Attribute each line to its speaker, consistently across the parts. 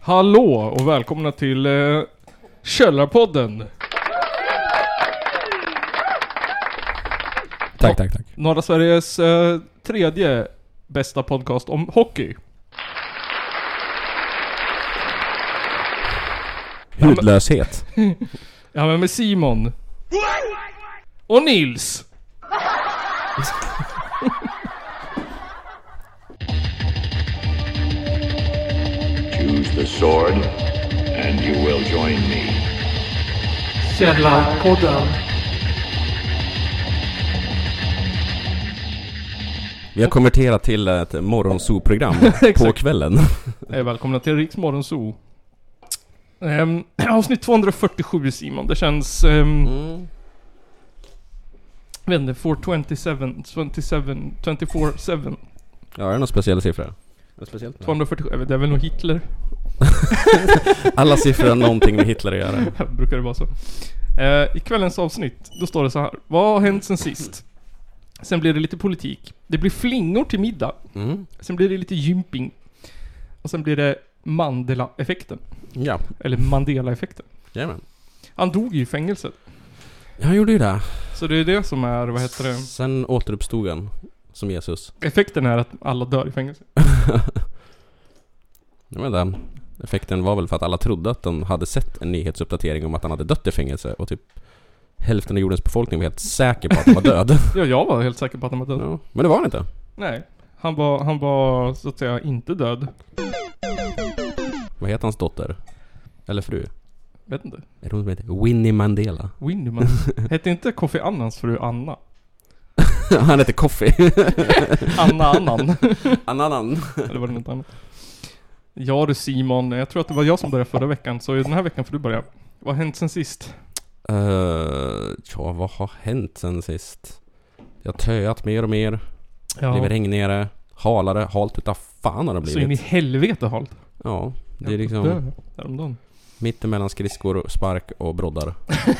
Speaker 1: Hallå och välkomna till eh, Källarpodden.
Speaker 2: Tack, tack, tack.
Speaker 1: Norra Sveriges eh, tredje bästa podcast om hockey.
Speaker 2: Hudlöshet.
Speaker 1: Ja men med Simon. Och Nils.
Speaker 3: Choose the sword, and you will join me.
Speaker 4: Källarpodden.
Speaker 2: Vi har konverterat till ett morgonsoprogram på
Speaker 1: Exakt.
Speaker 2: kvällen.
Speaker 1: Eh, välkomna till Riks Morgonzoo. Ehm, avsnitt 247 Simon, det känns... ehm, Jag vet inte, 427, 27, 24-7,
Speaker 2: Ja, är det någon speciell siffra? Något speciellt?
Speaker 1: 247, jag vet, det är väl nog Hitler?
Speaker 2: Alla siffror har någonting med Hitler att göra.
Speaker 1: Brukar det vara så. Eh, I kvällens avsnitt, då står det så här. Vad har hänt sen sist? Sen blir det lite politik. Det blir flingor till middag.
Speaker 2: Mm.
Speaker 1: Sen blir det lite gymping. Och sen blir det Mandela-effekten.
Speaker 2: Ja,
Speaker 1: Eller Mandela-effekten.
Speaker 2: jajamän.
Speaker 1: Han dog ju i fängelset.
Speaker 2: Han gjorde ju det.
Speaker 1: Så det är det som är, vad heter det?
Speaker 2: Sen återuppstod han som Jesus.
Speaker 1: Effekten är att alla dör i fängelse.
Speaker 2: Jag menar, effekten var väl för att alla trodde att de hade sett en nyhetsuppdatering om att han hade dött i fängelse och typ hälften av jordens befolkning var helt säker på att han var död.
Speaker 1: Ja, jag var helt säker på att han var död.
Speaker 2: ja. Men det var han inte.
Speaker 1: Nej. Han var, han var så att säga inte död.
Speaker 2: Vad heter hans dotter? Eller fru?
Speaker 1: Vet inte.
Speaker 2: Är det hon som heter Winnie Mandela?
Speaker 1: Winnie man. Hette inte Kofi Annans fru Anna?
Speaker 2: han heter Coffee.
Speaker 1: Anna Annan.
Speaker 2: Ananan.
Speaker 1: Eller var det något annat? Ja du Simon, jag tror att det var jag som började förra veckan, så i den här veckan får du börja. Vad har hänt sen sist?
Speaker 2: Uh, ja, vad har hänt sen sist? Jag har töat mer och mer. Blivit regnigare, halare, halt utav fan har det
Speaker 1: så in i
Speaker 2: blivit.
Speaker 1: helvete halt.
Speaker 2: Ja, det är
Speaker 1: Jag
Speaker 2: liksom
Speaker 1: dör Häromdagen.
Speaker 2: mittemellan skridskor, spark och broddar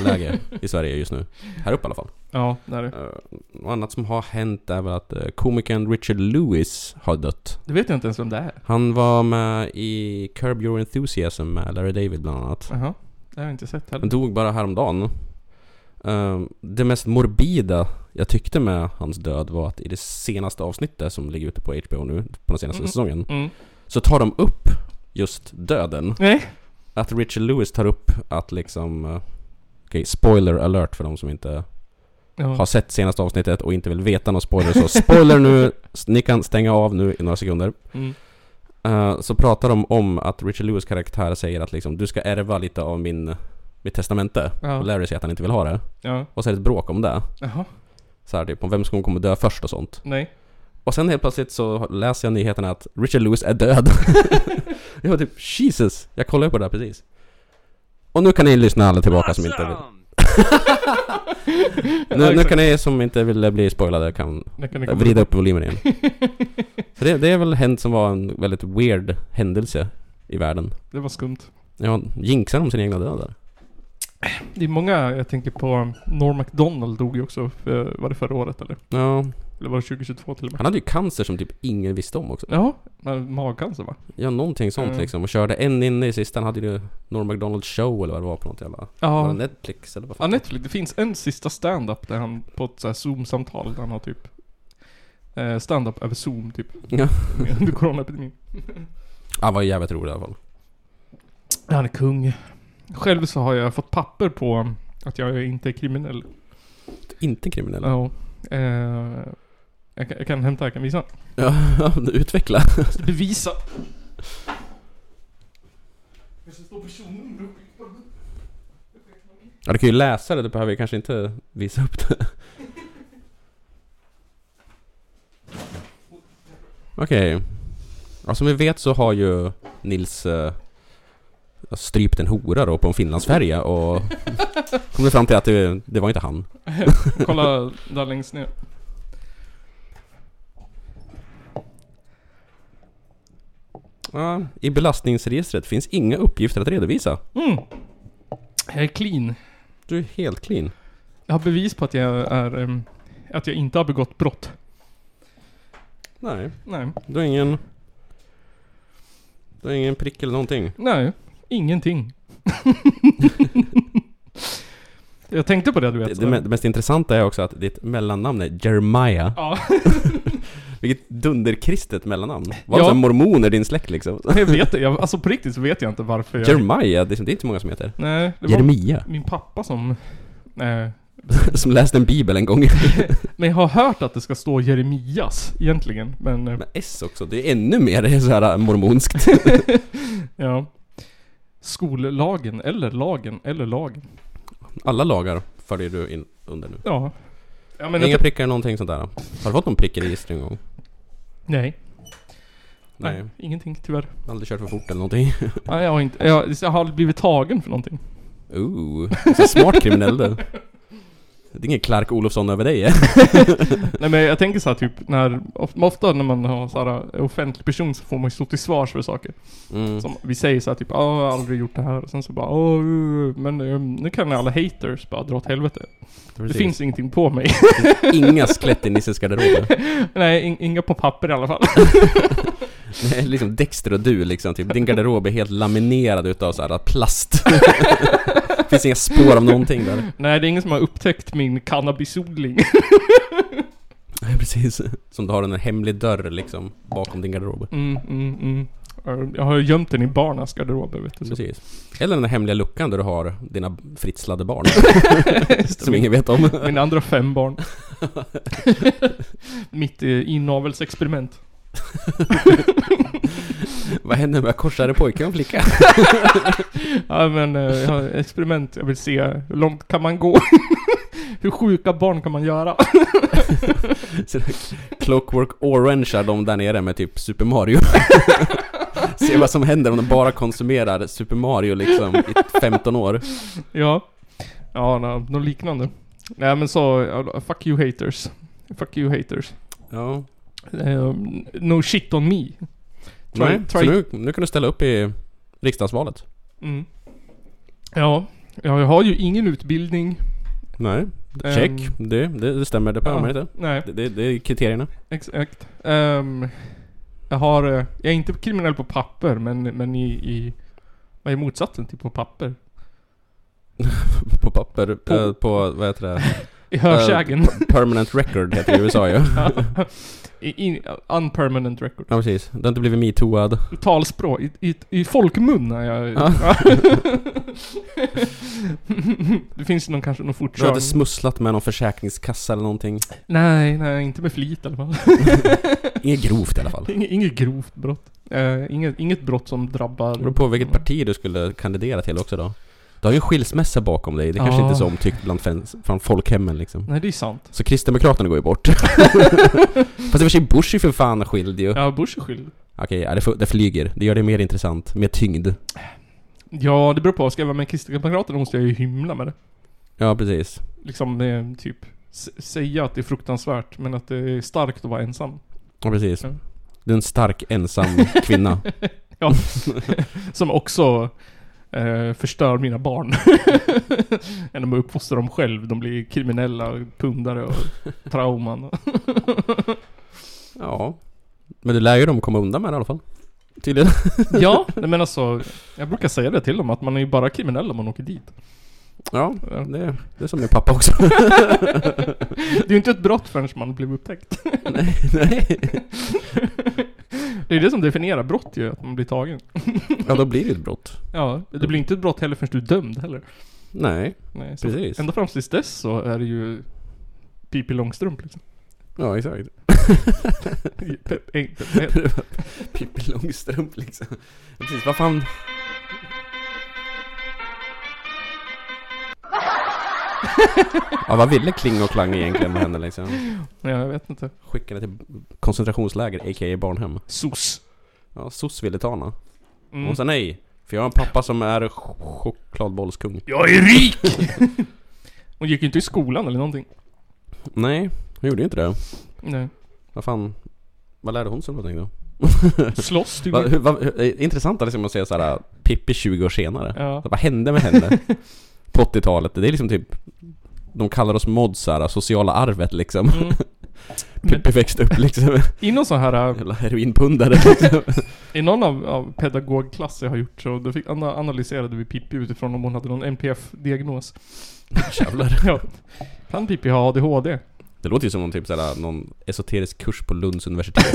Speaker 2: läge i Sverige just nu. Här uppe i alla fall.
Speaker 1: Ja, det är det.
Speaker 2: Eh, något annat som har hänt är väl att eh, komikern Richard Lewis har dött.
Speaker 1: Det vet jag inte ens vem det är.
Speaker 2: Han var med i Curb Your Enthusiasm med Larry David bland annat.
Speaker 1: Jaha. Det har jag inte sett heller.
Speaker 2: Han dog bara häromdagen. Ehm, Det mest morbida jag tyckte med hans död var att i det senaste avsnittet som ligger ute på HBO nu, på den senaste
Speaker 1: Mm.
Speaker 2: säsongen,
Speaker 1: Mm.
Speaker 2: så tar de upp just döden.
Speaker 1: Nej.
Speaker 2: Att Richard Lewis tar upp att liksom... eh, Okej, spoiler alert för de som inte
Speaker 1: Mm.
Speaker 2: har
Speaker 1: Ja.
Speaker 2: sett senaste avsnittet och inte vill veta någon spoiler. Så spoiler nu, s- ni kan stänga av nu i några sekunder.
Speaker 1: Mm.
Speaker 2: Eh, så pratar de om att Richard Lewis karaktär säger att liksom, du ska ärva lite av min, mitt testamente.
Speaker 1: Ja.
Speaker 2: Och Larry säger att han inte vill ha det.
Speaker 1: ja.
Speaker 2: Och så är det ett bråk om det.
Speaker 1: Jaha.
Speaker 2: Så här, typ om vem som kommer dö först och sånt.
Speaker 1: Nej.
Speaker 2: Och sen helt plötsligt så läser jag nyheten att Richard Lewis är död. jag var typ Jesus, jag kollade på det här precis. Och nu kan ni lyssna alla tillbaka som inte vill. Nu, nu
Speaker 1: exakt.
Speaker 2: kan ni som inte vill bli spoilade kan
Speaker 1: Det kan det komma.
Speaker 2: vrida upp volymen igen. Så det, det är väl hänt som var en väldigt weird händelse i världen.
Speaker 1: Det var skumt.
Speaker 2: Ja, jinxar om sin egna död där.
Speaker 1: Det är många, jag tänker på Norm MacDonald dog ju också, för, var det förra året eller?
Speaker 2: Ja,
Speaker 1: Eller var det 2022 till och med?
Speaker 2: han hade ju cancer som typ ingen visste om också.
Speaker 1: Ja, men magcancer va?
Speaker 2: Ja, någonting sånt
Speaker 1: Mm.
Speaker 2: liksom. Och körde en inne i sista, han hade ju Norm MacDonald show eller vad det var på något jävla... Var
Speaker 1: Ja.
Speaker 2: det Netflix eller vad
Speaker 1: Ja,
Speaker 2: fan?
Speaker 1: Netflix. Det finns en sista stand-up där han på ett så här Zoom-samtal där han har typ eh, stand-up över Zoom typ.
Speaker 2: Ja.
Speaker 1: Under coronaepidemin.
Speaker 2: Han var jävligt rolig i alla fall.
Speaker 1: Han är kung. Själv så har jag fått papper på att jag inte är kriminell.
Speaker 2: Inte kriminell. Ja.
Speaker 1: Ja. Eh, jag, kan, jag kan hämta, jag kan visa.
Speaker 2: ja, men utveckla.
Speaker 1: måste bevisa. Kanske står personnummer uppe.
Speaker 2: Ja, du kan ju läsa det, du behöver ju kanske inte visa upp det. Okej. Ja, som vi vet så har ju Nils eh, strypt en hora då på en Finlandsfärja och kommit fram till att det, det var inte han.
Speaker 1: Kolla där längst ner.
Speaker 2: Ja, I belastningsregistret finns inga uppgifter att redovisa.
Speaker 1: Mm. Jag är clean.
Speaker 2: Du är helt clean.
Speaker 1: Jag har bevis på att jag är... ehm, att jag inte har begått brott.
Speaker 2: Nej,
Speaker 1: Nej.
Speaker 2: du har ingen... Det är ingen prick eller någonting.
Speaker 1: Nej, ingenting. jag tänkte på det du
Speaker 2: Det,
Speaker 1: vet.
Speaker 2: det, me- det mest intressanta är också att ditt mellannamn är Jeremiah.
Speaker 1: Ja,
Speaker 2: Vilket dunderkristet mellannamn. Var det
Speaker 1: Ja.
Speaker 2: ja. mormoner i din släkt liksom?
Speaker 1: jag vet det. Jag, alltså på riktigt så vet jag inte varför jag...
Speaker 2: Jeremiah, det är det är inte många som heter.
Speaker 1: Nej, det var
Speaker 2: Jeremia.
Speaker 1: min pappa som... Nej.
Speaker 2: Som läste en bibel en gång.
Speaker 1: Men jag har hört att det ska stå Jeremias egentligen. Men, eh,
Speaker 2: Med S också, det är ännu mer så här äh, mormonskt.
Speaker 1: ja. Skollagen, eller lagen, eller lagen.
Speaker 2: Alla lagar följer du in under nu.
Speaker 1: Ja. Ja men...
Speaker 2: Inga
Speaker 1: Jag,
Speaker 2: prickar någonting sånt där. Har du fått någon prick i registret någon gång?
Speaker 1: nej, nej.
Speaker 2: Nej.
Speaker 1: Nej. Ingenting tyvärr.
Speaker 2: Aldrig kört för fort eller någonting?
Speaker 1: Nej, jag har inte... Jag, jag har aldrig blivit tagen för någonting.
Speaker 2: Ooh, så smart kriminell du. Det är ingen Clark Olofsson över dig eh?
Speaker 1: Nej men jag tänker så här typ när, of- ofta när man har så här, eh, offentlig person så får man ju stå till svars för saker.
Speaker 2: mm.
Speaker 1: Som vi säger så här typ, "Ah, jag har aldrig gjort det här. Och sen så bara, "Åh, eh, men eh, nu kan alla haters bara dra åt helvete.
Speaker 2: Precis.
Speaker 1: Det finns ingenting på mig.
Speaker 2: inga skelett i Nisses garderob.
Speaker 1: Nej, in, inga på papper i alla fall.
Speaker 2: Nej, liksom Dexter och du liksom, typ. Din garderob är helt laminerad utav så här plast. Det finns inga spår av någonting där.
Speaker 1: Nej, det är ingen som har upptäckt min cannabisodling.
Speaker 2: Nej, precis. Som du har en hemlig dörr liksom, bakom din garderob.
Speaker 1: Mm, mm, mm. Eh, Jag har ju gömt den i barnas garderober vet du. Så.
Speaker 2: Precis. Eller den där hemliga luckan där du har dina fritslade barn.
Speaker 1: Just det,
Speaker 2: som
Speaker 1: min-
Speaker 2: ingen vet om.
Speaker 1: Mina andra fem barn. Mitt eh, inavelsexperiment.
Speaker 2: Vad händer om jag korsar en pojke och en flicka?
Speaker 1: Ja men eh, jag har ett experiment, jag vill se hur långt kan man gå? hur sjuka barn kan man göra?
Speaker 2: Så där Clockwork Orange är de där nere med typ Super Mario. Se vad som händer om de bara konsumerar Super Mario liksom i 15 år.
Speaker 1: ja. Ja, nå- något liknande. Nej men så, ja, fuck you haters. Fuck you haters.
Speaker 2: Ja.
Speaker 1: Eh, no shit on me. Try-
Speaker 2: Nej,
Speaker 1: try-
Speaker 2: så nu, nu kan du ställa upp i riksdagsvalet.
Speaker 1: Mm. Ja. ja, jag har ju ingen utbildning. Ehm,
Speaker 2: Nej, Ehm. check. Det, det, det stämmer, det behöver man inte.
Speaker 1: Nej,
Speaker 2: Det, det, det är kriterierna.
Speaker 1: exakt. Ehm, jag har, eh, jag är inte kriminell på papper men, men i, i, vad är motsatsen till på papper?
Speaker 2: På papper,
Speaker 1: På-
Speaker 2: på, på vad heter det?
Speaker 1: I hörsägen.
Speaker 2: Permanent record heter det i USA ju. Ja.
Speaker 1: I, in, unpermanent record.
Speaker 2: ja precis, det har inte blivit metooad.
Speaker 1: I talspråk. I, i, i folkmun är jag...
Speaker 2: Ja.
Speaker 1: det finns någon kanske, någon
Speaker 2: Du har
Speaker 1: fortkörning.
Speaker 2: inte smusslat med någon försäkringskassa eller någonting.
Speaker 1: Nej, nej, inte med flit i alla fall.
Speaker 2: Inget grovt i alla fall.
Speaker 1: Inge- inget grovt brott. Eh, inget, inget brott som drabbar...
Speaker 2: Det beror på vilket parti du skulle kandidera till också då. Du har ju en skilsmässa bakom dig, det är kanske
Speaker 1: Ja.
Speaker 2: inte är så omtyckt bland fans, från folkhemmen liksom.
Speaker 1: Nej, det är sant.
Speaker 2: Så Kristdemokraterna går ju bort. Fast i och för sig Bush är för fan skild ju.
Speaker 1: Ja, Bush är skyldig.
Speaker 2: Okej, ja, det, f- det flyger. Det gör det mer intressant, mer tyngd.
Speaker 1: Ja, det beror på. Ska jag vara med i Kristdemokraterna måste jag ju hymla med det.
Speaker 2: Ja, precis.
Speaker 1: Liksom, eh, typ, s- säga att det är fruktansvärt, men att det är starkt att vara ensam.
Speaker 2: Ja, precis.
Speaker 1: Ja.
Speaker 2: Du är en stark, ensam kvinna.
Speaker 1: Som också eh, förstör mina barn. Än om jag uppfostrar dem själv. De blir kriminella, pundare och trauman.
Speaker 2: Ja. Men du lär ju dem komma undan med det i alla fall. Tydligen.
Speaker 1: ja, nej, men alltså. Jag brukar säga det till dem, att man är ju bara kriminell om man åker dit.
Speaker 2: Ja,
Speaker 1: Ja.
Speaker 2: det, det är som min pappa också.
Speaker 1: Det är ju inte ett brott förrän man blir upptäckt.
Speaker 2: nej, nej.
Speaker 1: Det är det som definierar brott ju, att man blir tagen.
Speaker 2: Ja, då blir det ju ett brott.
Speaker 1: Ja, det blir inte ett brott heller förrän du är dömd heller.
Speaker 2: Nej,
Speaker 1: Nej, så
Speaker 2: precis.
Speaker 1: Ända fram tills dess så är det ju Pippi Långstrump liksom.
Speaker 2: Ja, exakt. Pippi Långstrump liksom. Ja, Precis, vad fan... Ja, vad ville Kling och Klang egentligen med henne liksom?
Speaker 1: Ja, jag vet inte.
Speaker 2: Skicka henne till koncentrationsläger, a.k.a. barnhem.
Speaker 1: Sos.
Speaker 2: Ja, soc ville ta henne.
Speaker 1: Mm.
Speaker 2: Hon sa nej. För jag har en pappa som är ch- chokladbollskung.
Speaker 1: Jag är rik! Hon gick ju inte i skolan eller någonting.
Speaker 2: Nej, hon gjorde ju inte det.
Speaker 1: Nej.
Speaker 2: Vad fan... Vad lärde hon sig någonting då?
Speaker 1: Slåss typ.
Speaker 2: Va,
Speaker 1: du?
Speaker 2: hur, va, hur, eh, intressant är liksom att se såhär Pippi 20 år senare.
Speaker 1: Ja.
Speaker 2: Så Vad hände med henne? På 80-talet. Det är liksom typ... De kallar oss mods här, sociala arvet liksom.
Speaker 1: Mm. Men
Speaker 2: Pippi växte upp liksom.
Speaker 1: i någon sån här... äh,
Speaker 2: Jävla heroinpundare.
Speaker 1: I någon av, av pedagogklasser jag har gjort så då fick, ana- analyserade vi Pippi utifrån om hon hade någon NPF-diagnos.
Speaker 2: Jävlar.
Speaker 1: Ja. Kan Pippi ha ADHD?
Speaker 2: Det låter ju som någon typ såhär, någon esoterisk kurs på Lunds universitet.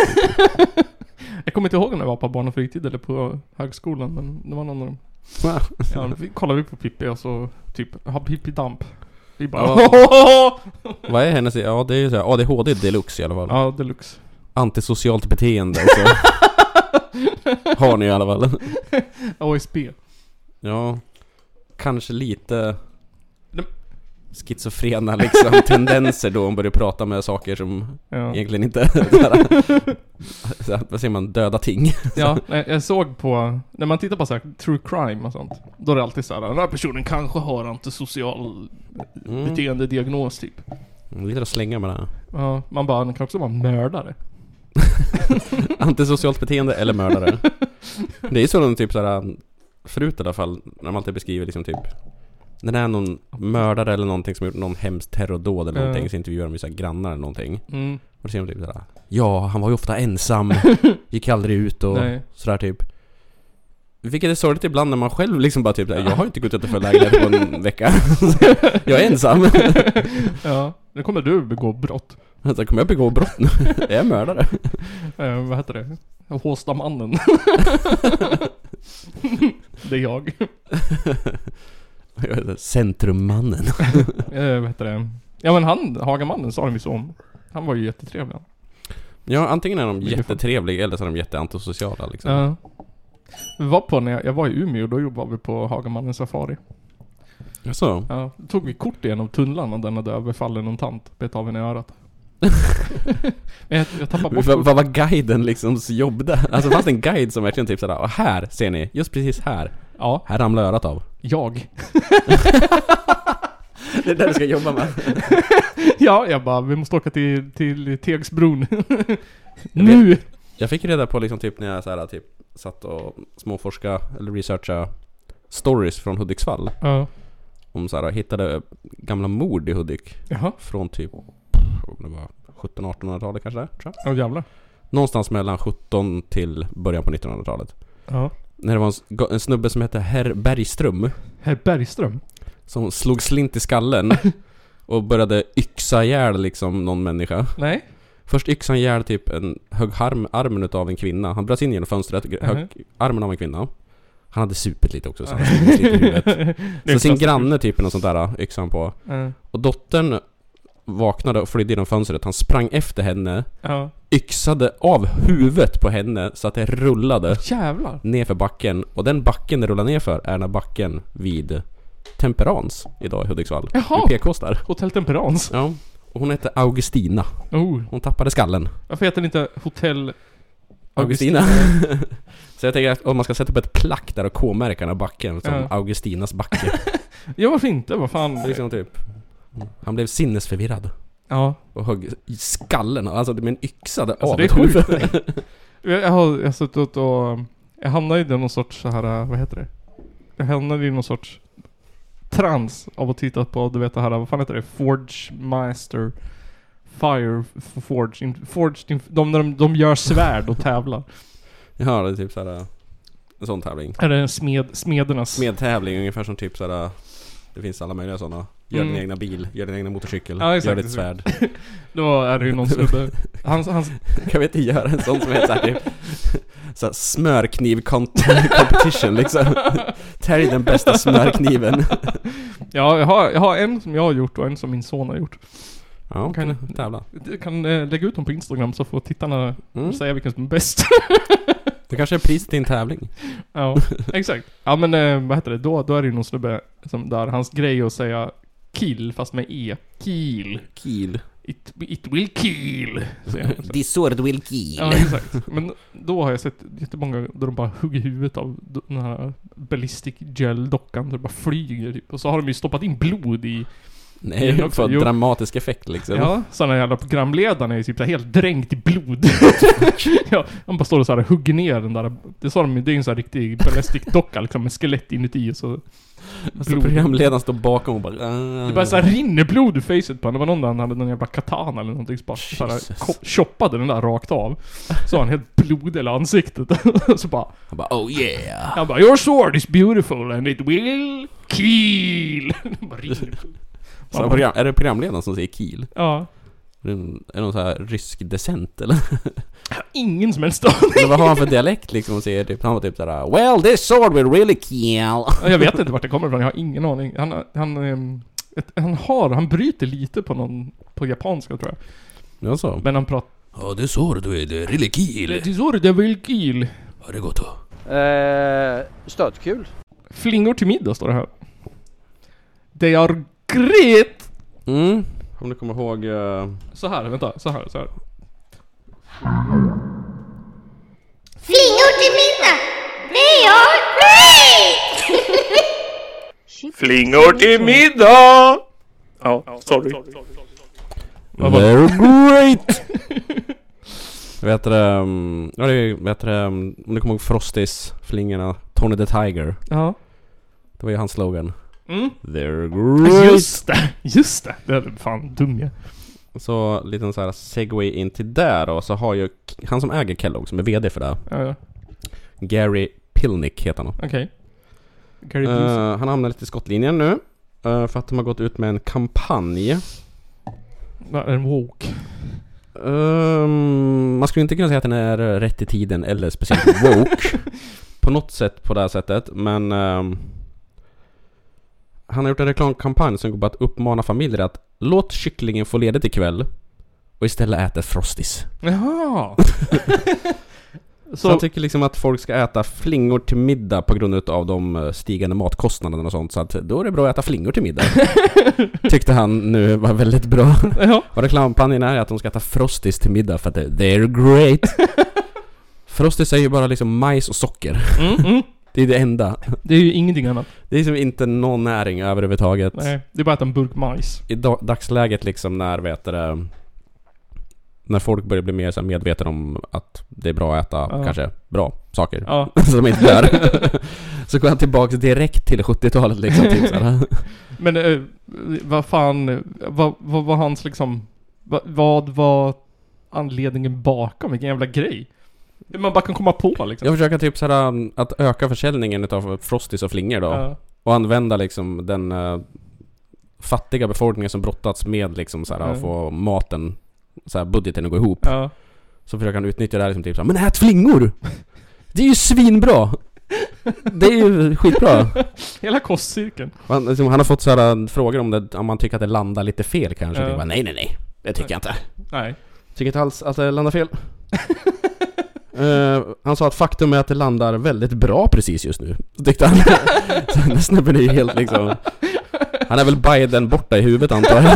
Speaker 1: Jag kommer inte ihåg om det var på barn och fritid eller på högskolan men det var någon av dem.
Speaker 2: Wow.
Speaker 1: Ja, vi kollade vi på Pippi och så typ, har Pippi damp? Vi bara
Speaker 2: Vad är hennes, ja det är ju såhär ADHD deluxe i alla fall.
Speaker 1: Ja, deluxe.
Speaker 2: Antisocialt beteende alltså. Har ni i alla fall.
Speaker 1: ASB.
Speaker 2: Ja, kanske lite
Speaker 1: Nej.
Speaker 2: schizofrena liksom tendenser då hon börjar prata med saker som
Speaker 1: Ja.
Speaker 2: egentligen inte såhär, såhär, vad säger man, döda ting.
Speaker 1: Ja, nej, jag såg på, när man tittar på så här, true crime och sånt, då är det alltid så här, den här personen kanske har antisocial
Speaker 2: Mm.
Speaker 1: beteendediagnos typ.
Speaker 2: Jag gillar att slänga med det här.
Speaker 1: Ja, man bara, den kan också vara mördare.
Speaker 2: Antisocialt beteende eller mördare. Det är ju sådant typ såhär, förut i alla fall, när man alltid beskriver liksom typ när det är någon mördare eller någonting som har gjort någon hemsk terrordåd eller
Speaker 1: Ja.
Speaker 2: någonting så intervjuar de ju såhär grannar eller någonting.
Speaker 1: Mm,
Speaker 2: Och då ser de typ såhär Ja, han var ju ofta ensam, gick aldrig ut och
Speaker 1: Nej.
Speaker 2: sådär typ. Vilket är sorgligt ibland när man själv liksom bara typ såhär, jag har inte gått utanför lägenheten på en vecka. jag är ensam.
Speaker 1: ja. Nu kommer du begå brott.
Speaker 2: Alltså, kommer jag begå brott nu? är jag mördare?
Speaker 1: Eh, vad heter det? Håstamannen. det är jag.
Speaker 2: Jag är såhär, Centrummannen.
Speaker 1: Eh, vad heter det? Ja men han, Hagamannen sa den visst om. Han var ju jättetrevlig.
Speaker 2: Ja, antingen är de
Speaker 1: Mycket
Speaker 2: jättetrevliga eller så är de jätteantisociala liksom.
Speaker 1: Ja. Vi var på när jag, jag var i Umeå, då jobbade vi på Hagamannens safari.
Speaker 2: Så.
Speaker 1: Ja, då tog vi kort genom tunnlarna där den hade överfallen någon tant. Bet av henne i örat. Men jag, jag tappade bort
Speaker 2: Vad vad var guiden liksom jobb där? Alltså fanns det en guide som verkligen typ sådär, och här ser ni, just precis här,
Speaker 1: Ja,
Speaker 2: här ramlar örat av.
Speaker 1: jag.
Speaker 2: Det är det du ska jobba med.
Speaker 1: Ja, jag bara, vi måste åka till, till Tegsbron.
Speaker 2: Jag
Speaker 1: nu!
Speaker 2: Jag fick reda på liksom typ när jag så här, typ satt och småforska eller researcha stories från Hudiksvall.
Speaker 1: Ja.
Speaker 2: Om så här, hittade gamla mord i Hudik
Speaker 1: Jaha.
Speaker 2: från typ om det var 1700-1800-talet kanske, tror jag.
Speaker 1: Åh jävlar.
Speaker 2: Någonstans mellan 17 till början på 1900-talet.
Speaker 1: Ja.
Speaker 2: När det var en, s- ga- en snubbe som hette Herr Bergström
Speaker 1: Herr Bergström.
Speaker 2: som slog slint i skallen och började yxa ihjäl liksom någon människa.
Speaker 1: Nej.
Speaker 2: Först yxade han ihjäl typ en hög arm, armen utav en kvinna. Han bröt sig in genom fönstret,
Speaker 1: Mhm.
Speaker 2: hög, armen av en kvinna. Han hade supit lite också så han hade lite i huvudet. Så sin granne typ något sånt där yxade han på.
Speaker 1: Ja.
Speaker 2: Och dottern vaknade och flydde genom fönstret. Han sprang efter henne,
Speaker 1: ja.
Speaker 2: yxade av huvudet på henne så att det rullade
Speaker 1: Jävlar.
Speaker 2: nerför backen. Och den backen det rullade nerför är den här backen vid Temperans idag i Hudiksvall.
Speaker 1: Jaha.
Speaker 2: Vid PKs där.
Speaker 1: Hotell Temperans.
Speaker 2: Ja. Och hon hette Augustina.
Speaker 1: Oh.
Speaker 2: Hon tappade skallen.
Speaker 1: Varför heter det inte Hotell...
Speaker 2: Augustina. så jag tänker att om man ska sätta upp ett plack där och K-märka den här backen, som
Speaker 1: Ja.
Speaker 2: Augustinas backe.
Speaker 1: Ja varför inte? Vad fan.
Speaker 2: Det är liksom typ. Han blev sinnesförvirrad
Speaker 1: Ja.
Speaker 2: och högg i skallen, alltså med en yxa där
Speaker 1: Alltså
Speaker 2: av
Speaker 1: det är
Speaker 2: ett huvud.
Speaker 1: sjukt. Jag jag har, jag har suttit och... Jag hamnade i någon sorts så här, äh, vad heter det? Jag hamnade i någon sorts trans av att titta på, du vet det här, vad fan heter det? Forge Master Fire F- Forge, in, Forged in, de, när de, de gör svärd och tävlar.
Speaker 2: Ja, det är typ såhär... En sån tävling.
Speaker 1: Eller en smed, smedernas...
Speaker 2: Smedtävling, ungefär som typ såhär... Det finns alla möjliga sådana. Gör din
Speaker 1: Mm.
Speaker 2: egna bil, gör din egna motorcykel,
Speaker 1: Ja, exakt,
Speaker 2: gör ditt
Speaker 1: exakt.
Speaker 2: svärd.
Speaker 1: Då är det ju någon snubbe. Hans, hans,
Speaker 2: Kan vi inte göra en sån som heter såhär typ... Såhär smörkniv cont- competition liksom. Tälj den bästa smörkniven.
Speaker 1: ja, jag har, jag har en som jag har gjort och en som min son har gjort. Kan-
Speaker 2: Ja, kan tävla.
Speaker 1: Du kan eh, lägga ut dem på Instagram så får tittarna
Speaker 2: Mm.
Speaker 1: säga vilken som är bäst.
Speaker 2: Det kanske är priset till en tävling.
Speaker 1: Ja, exakt. Ja men eh, vad heter det? Då, då är det ju någon snubbe som där, hans grej är att säga kill fast med e. Kill.
Speaker 2: Kiel.
Speaker 1: It, it will kill. säger han.
Speaker 2: The sword will kill.
Speaker 1: Ja exakt. Men då har jag sett jättemånga där de bara hugger huvudet av d- den här ballistic gel dockan. Så det bara flyger typ. Och så har de ju stoppat in blod i Är det
Speaker 2: Nej,
Speaker 1: också-
Speaker 2: för
Speaker 1: jo.
Speaker 2: dramatisk effekt liksom.
Speaker 1: Ja, sådana jävla programledarna är ju typ så här helt dränkt i blod. ja, de bara står och så här hugger ner den där. Det sa de ju, det är ju en sån här riktig ballistikdocka liksom med skelett inuti och så...
Speaker 2: Alltså,
Speaker 1: blod.
Speaker 2: programledaren står bakom och bara... "Äh."
Speaker 1: Det bara så här rinner blod ur facet på honom. Det var någon där han hade någon jävla katana eller någonting som bara så här,
Speaker 2: Jesus.
Speaker 1: ko- choppade den där rakt av. Så har han helt blod i hela ansiktet. så bara...
Speaker 2: Han bara oh yeah!
Speaker 1: Han bara 'Your sword is beautiful and it will kill' Det bara rinner blod.
Speaker 2: Så han program, är det programledaren som säger Kiel?
Speaker 1: Ja.
Speaker 2: Är det någon, är det någon så här rysk decent eller?
Speaker 1: Ingen som helst aning.
Speaker 2: eller vad har han för dialekt liksom? Och säger typ, han var typ såhär Well this sword will really kill!
Speaker 1: Ja, Jag vet inte vart det kommer ifrån, jag har ingen aning. Han, han, ehm, ett, han har, han bryter lite på någon, på japanska tror jag.
Speaker 2: Ja, så.
Speaker 1: Men han pratar...
Speaker 2: Oh this sword will really kill!
Speaker 1: Tisor de vill kill.
Speaker 2: Har det gått då?
Speaker 4: Eh, stötkul.
Speaker 1: Flingor till middag står det här. They are great!
Speaker 2: Mm. Om du kommer ihåg... eh,
Speaker 1: Så här, vänta, så här, så här.
Speaker 5: Flingor till middag! They are great!
Speaker 6: Flingor till middag! Ja, sorry.
Speaker 1: var det?
Speaker 2: They're great! Vet du, ehm, ja det är, vet du, ehm, om du kommer ihåg Frostis, flingorna, Tony the Tiger.
Speaker 1: Ja.
Speaker 2: Det var ju hans slogan. Alltså,
Speaker 1: Mm.
Speaker 2: They're great!
Speaker 1: Just det, just det. Det är fan dum jag.
Speaker 2: Så liten så här segway in till där då, så har ju k- han som äger Kellogg, som är VD för det,
Speaker 1: Ja, ja.
Speaker 2: Gary Pilnick heter han.
Speaker 1: Okej. Gary Busey.
Speaker 2: Uh, han hamnar lite i skottlinjen nu. eh, för att de har gått ut med en kampanj.
Speaker 1: Ja, En woke.
Speaker 2: Ehm, man skulle inte kunna säga att den är rätt i tiden eller speciellt woke. på något sätt på det här sättet, men... ehm, han har gjort en reklamkampanj som går på att uppmana familjer att låt kycklingen få ledigt ikväll och istället äta Frosties.
Speaker 1: Jaha!
Speaker 2: Så han
Speaker 1: så, typ-
Speaker 2: tycker liksom att folk ska äta flingor till middag på grund av de eh, stigande matkostnaderna och sånt, så att då är det bra att äta flingor till middag. Tyckte han nu var väldigt bra.
Speaker 1: ja.
Speaker 2: Och reklampanjen är att de ska äta Frosties till middag för att det- they're great. Frosties är ju bara liksom majs och socker.
Speaker 1: Mm, mm.
Speaker 2: Det är det enda.
Speaker 1: Det är ju ingenting annat.
Speaker 2: Det är liksom inte någon näring överhuvudtaget.
Speaker 1: Nej, det är bara att en burk majs.
Speaker 2: I da- dagsläget liksom när, vet du det, när folk börjar bli mer så här medvetna om att det är bra att äta
Speaker 1: Ja.
Speaker 2: kanske bra saker.
Speaker 1: Ja.
Speaker 2: så de inte dör. så går han tillbaka direkt till 70-talet liksom. Typ, så här.
Speaker 1: Men eh, vad fan, eh, vad, vad var hans liksom, vad, vad var anledningen bakom? Vilken jävla grej. Hur man bara kan komma på liksom.
Speaker 2: Jag försöker typ så här, um, att öka försäljningen utav Frosties och flingor då.
Speaker 1: Ja.
Speaker 2: Och använda liksom den eh, fattiga befolkningen som brottats med liksom så här,
Speaker 1: Mm.
Speaker 2: att få maten, så här, budgeten att gå ihop.
Speaker 1: ja.
Speaker 2: Så försöker han utnyttja det här liksom typ så här, Men ät flingor! Det är ju svinbra! Det är ju skitbra!
Speaker 1: Hela kostcirkeln.
Speaker 2: Och Han, liksom, han har fått så här, frågor om, det, om man tycker att det landar lite fel kanske.
Speaker 1: Ja.
Speaker 2: Typ, bara, nej nej nej, det tycker jag inte.
Speaker 1: Nej.
Speaker 2: Tycker inte alls att det landar fel. Eh, han sa att faktum är att det landar väldigt bra precis just nu, tyckte han. Så den där snubben är ju helt liksom... Han är väl Biden borta i huvudet antar jag.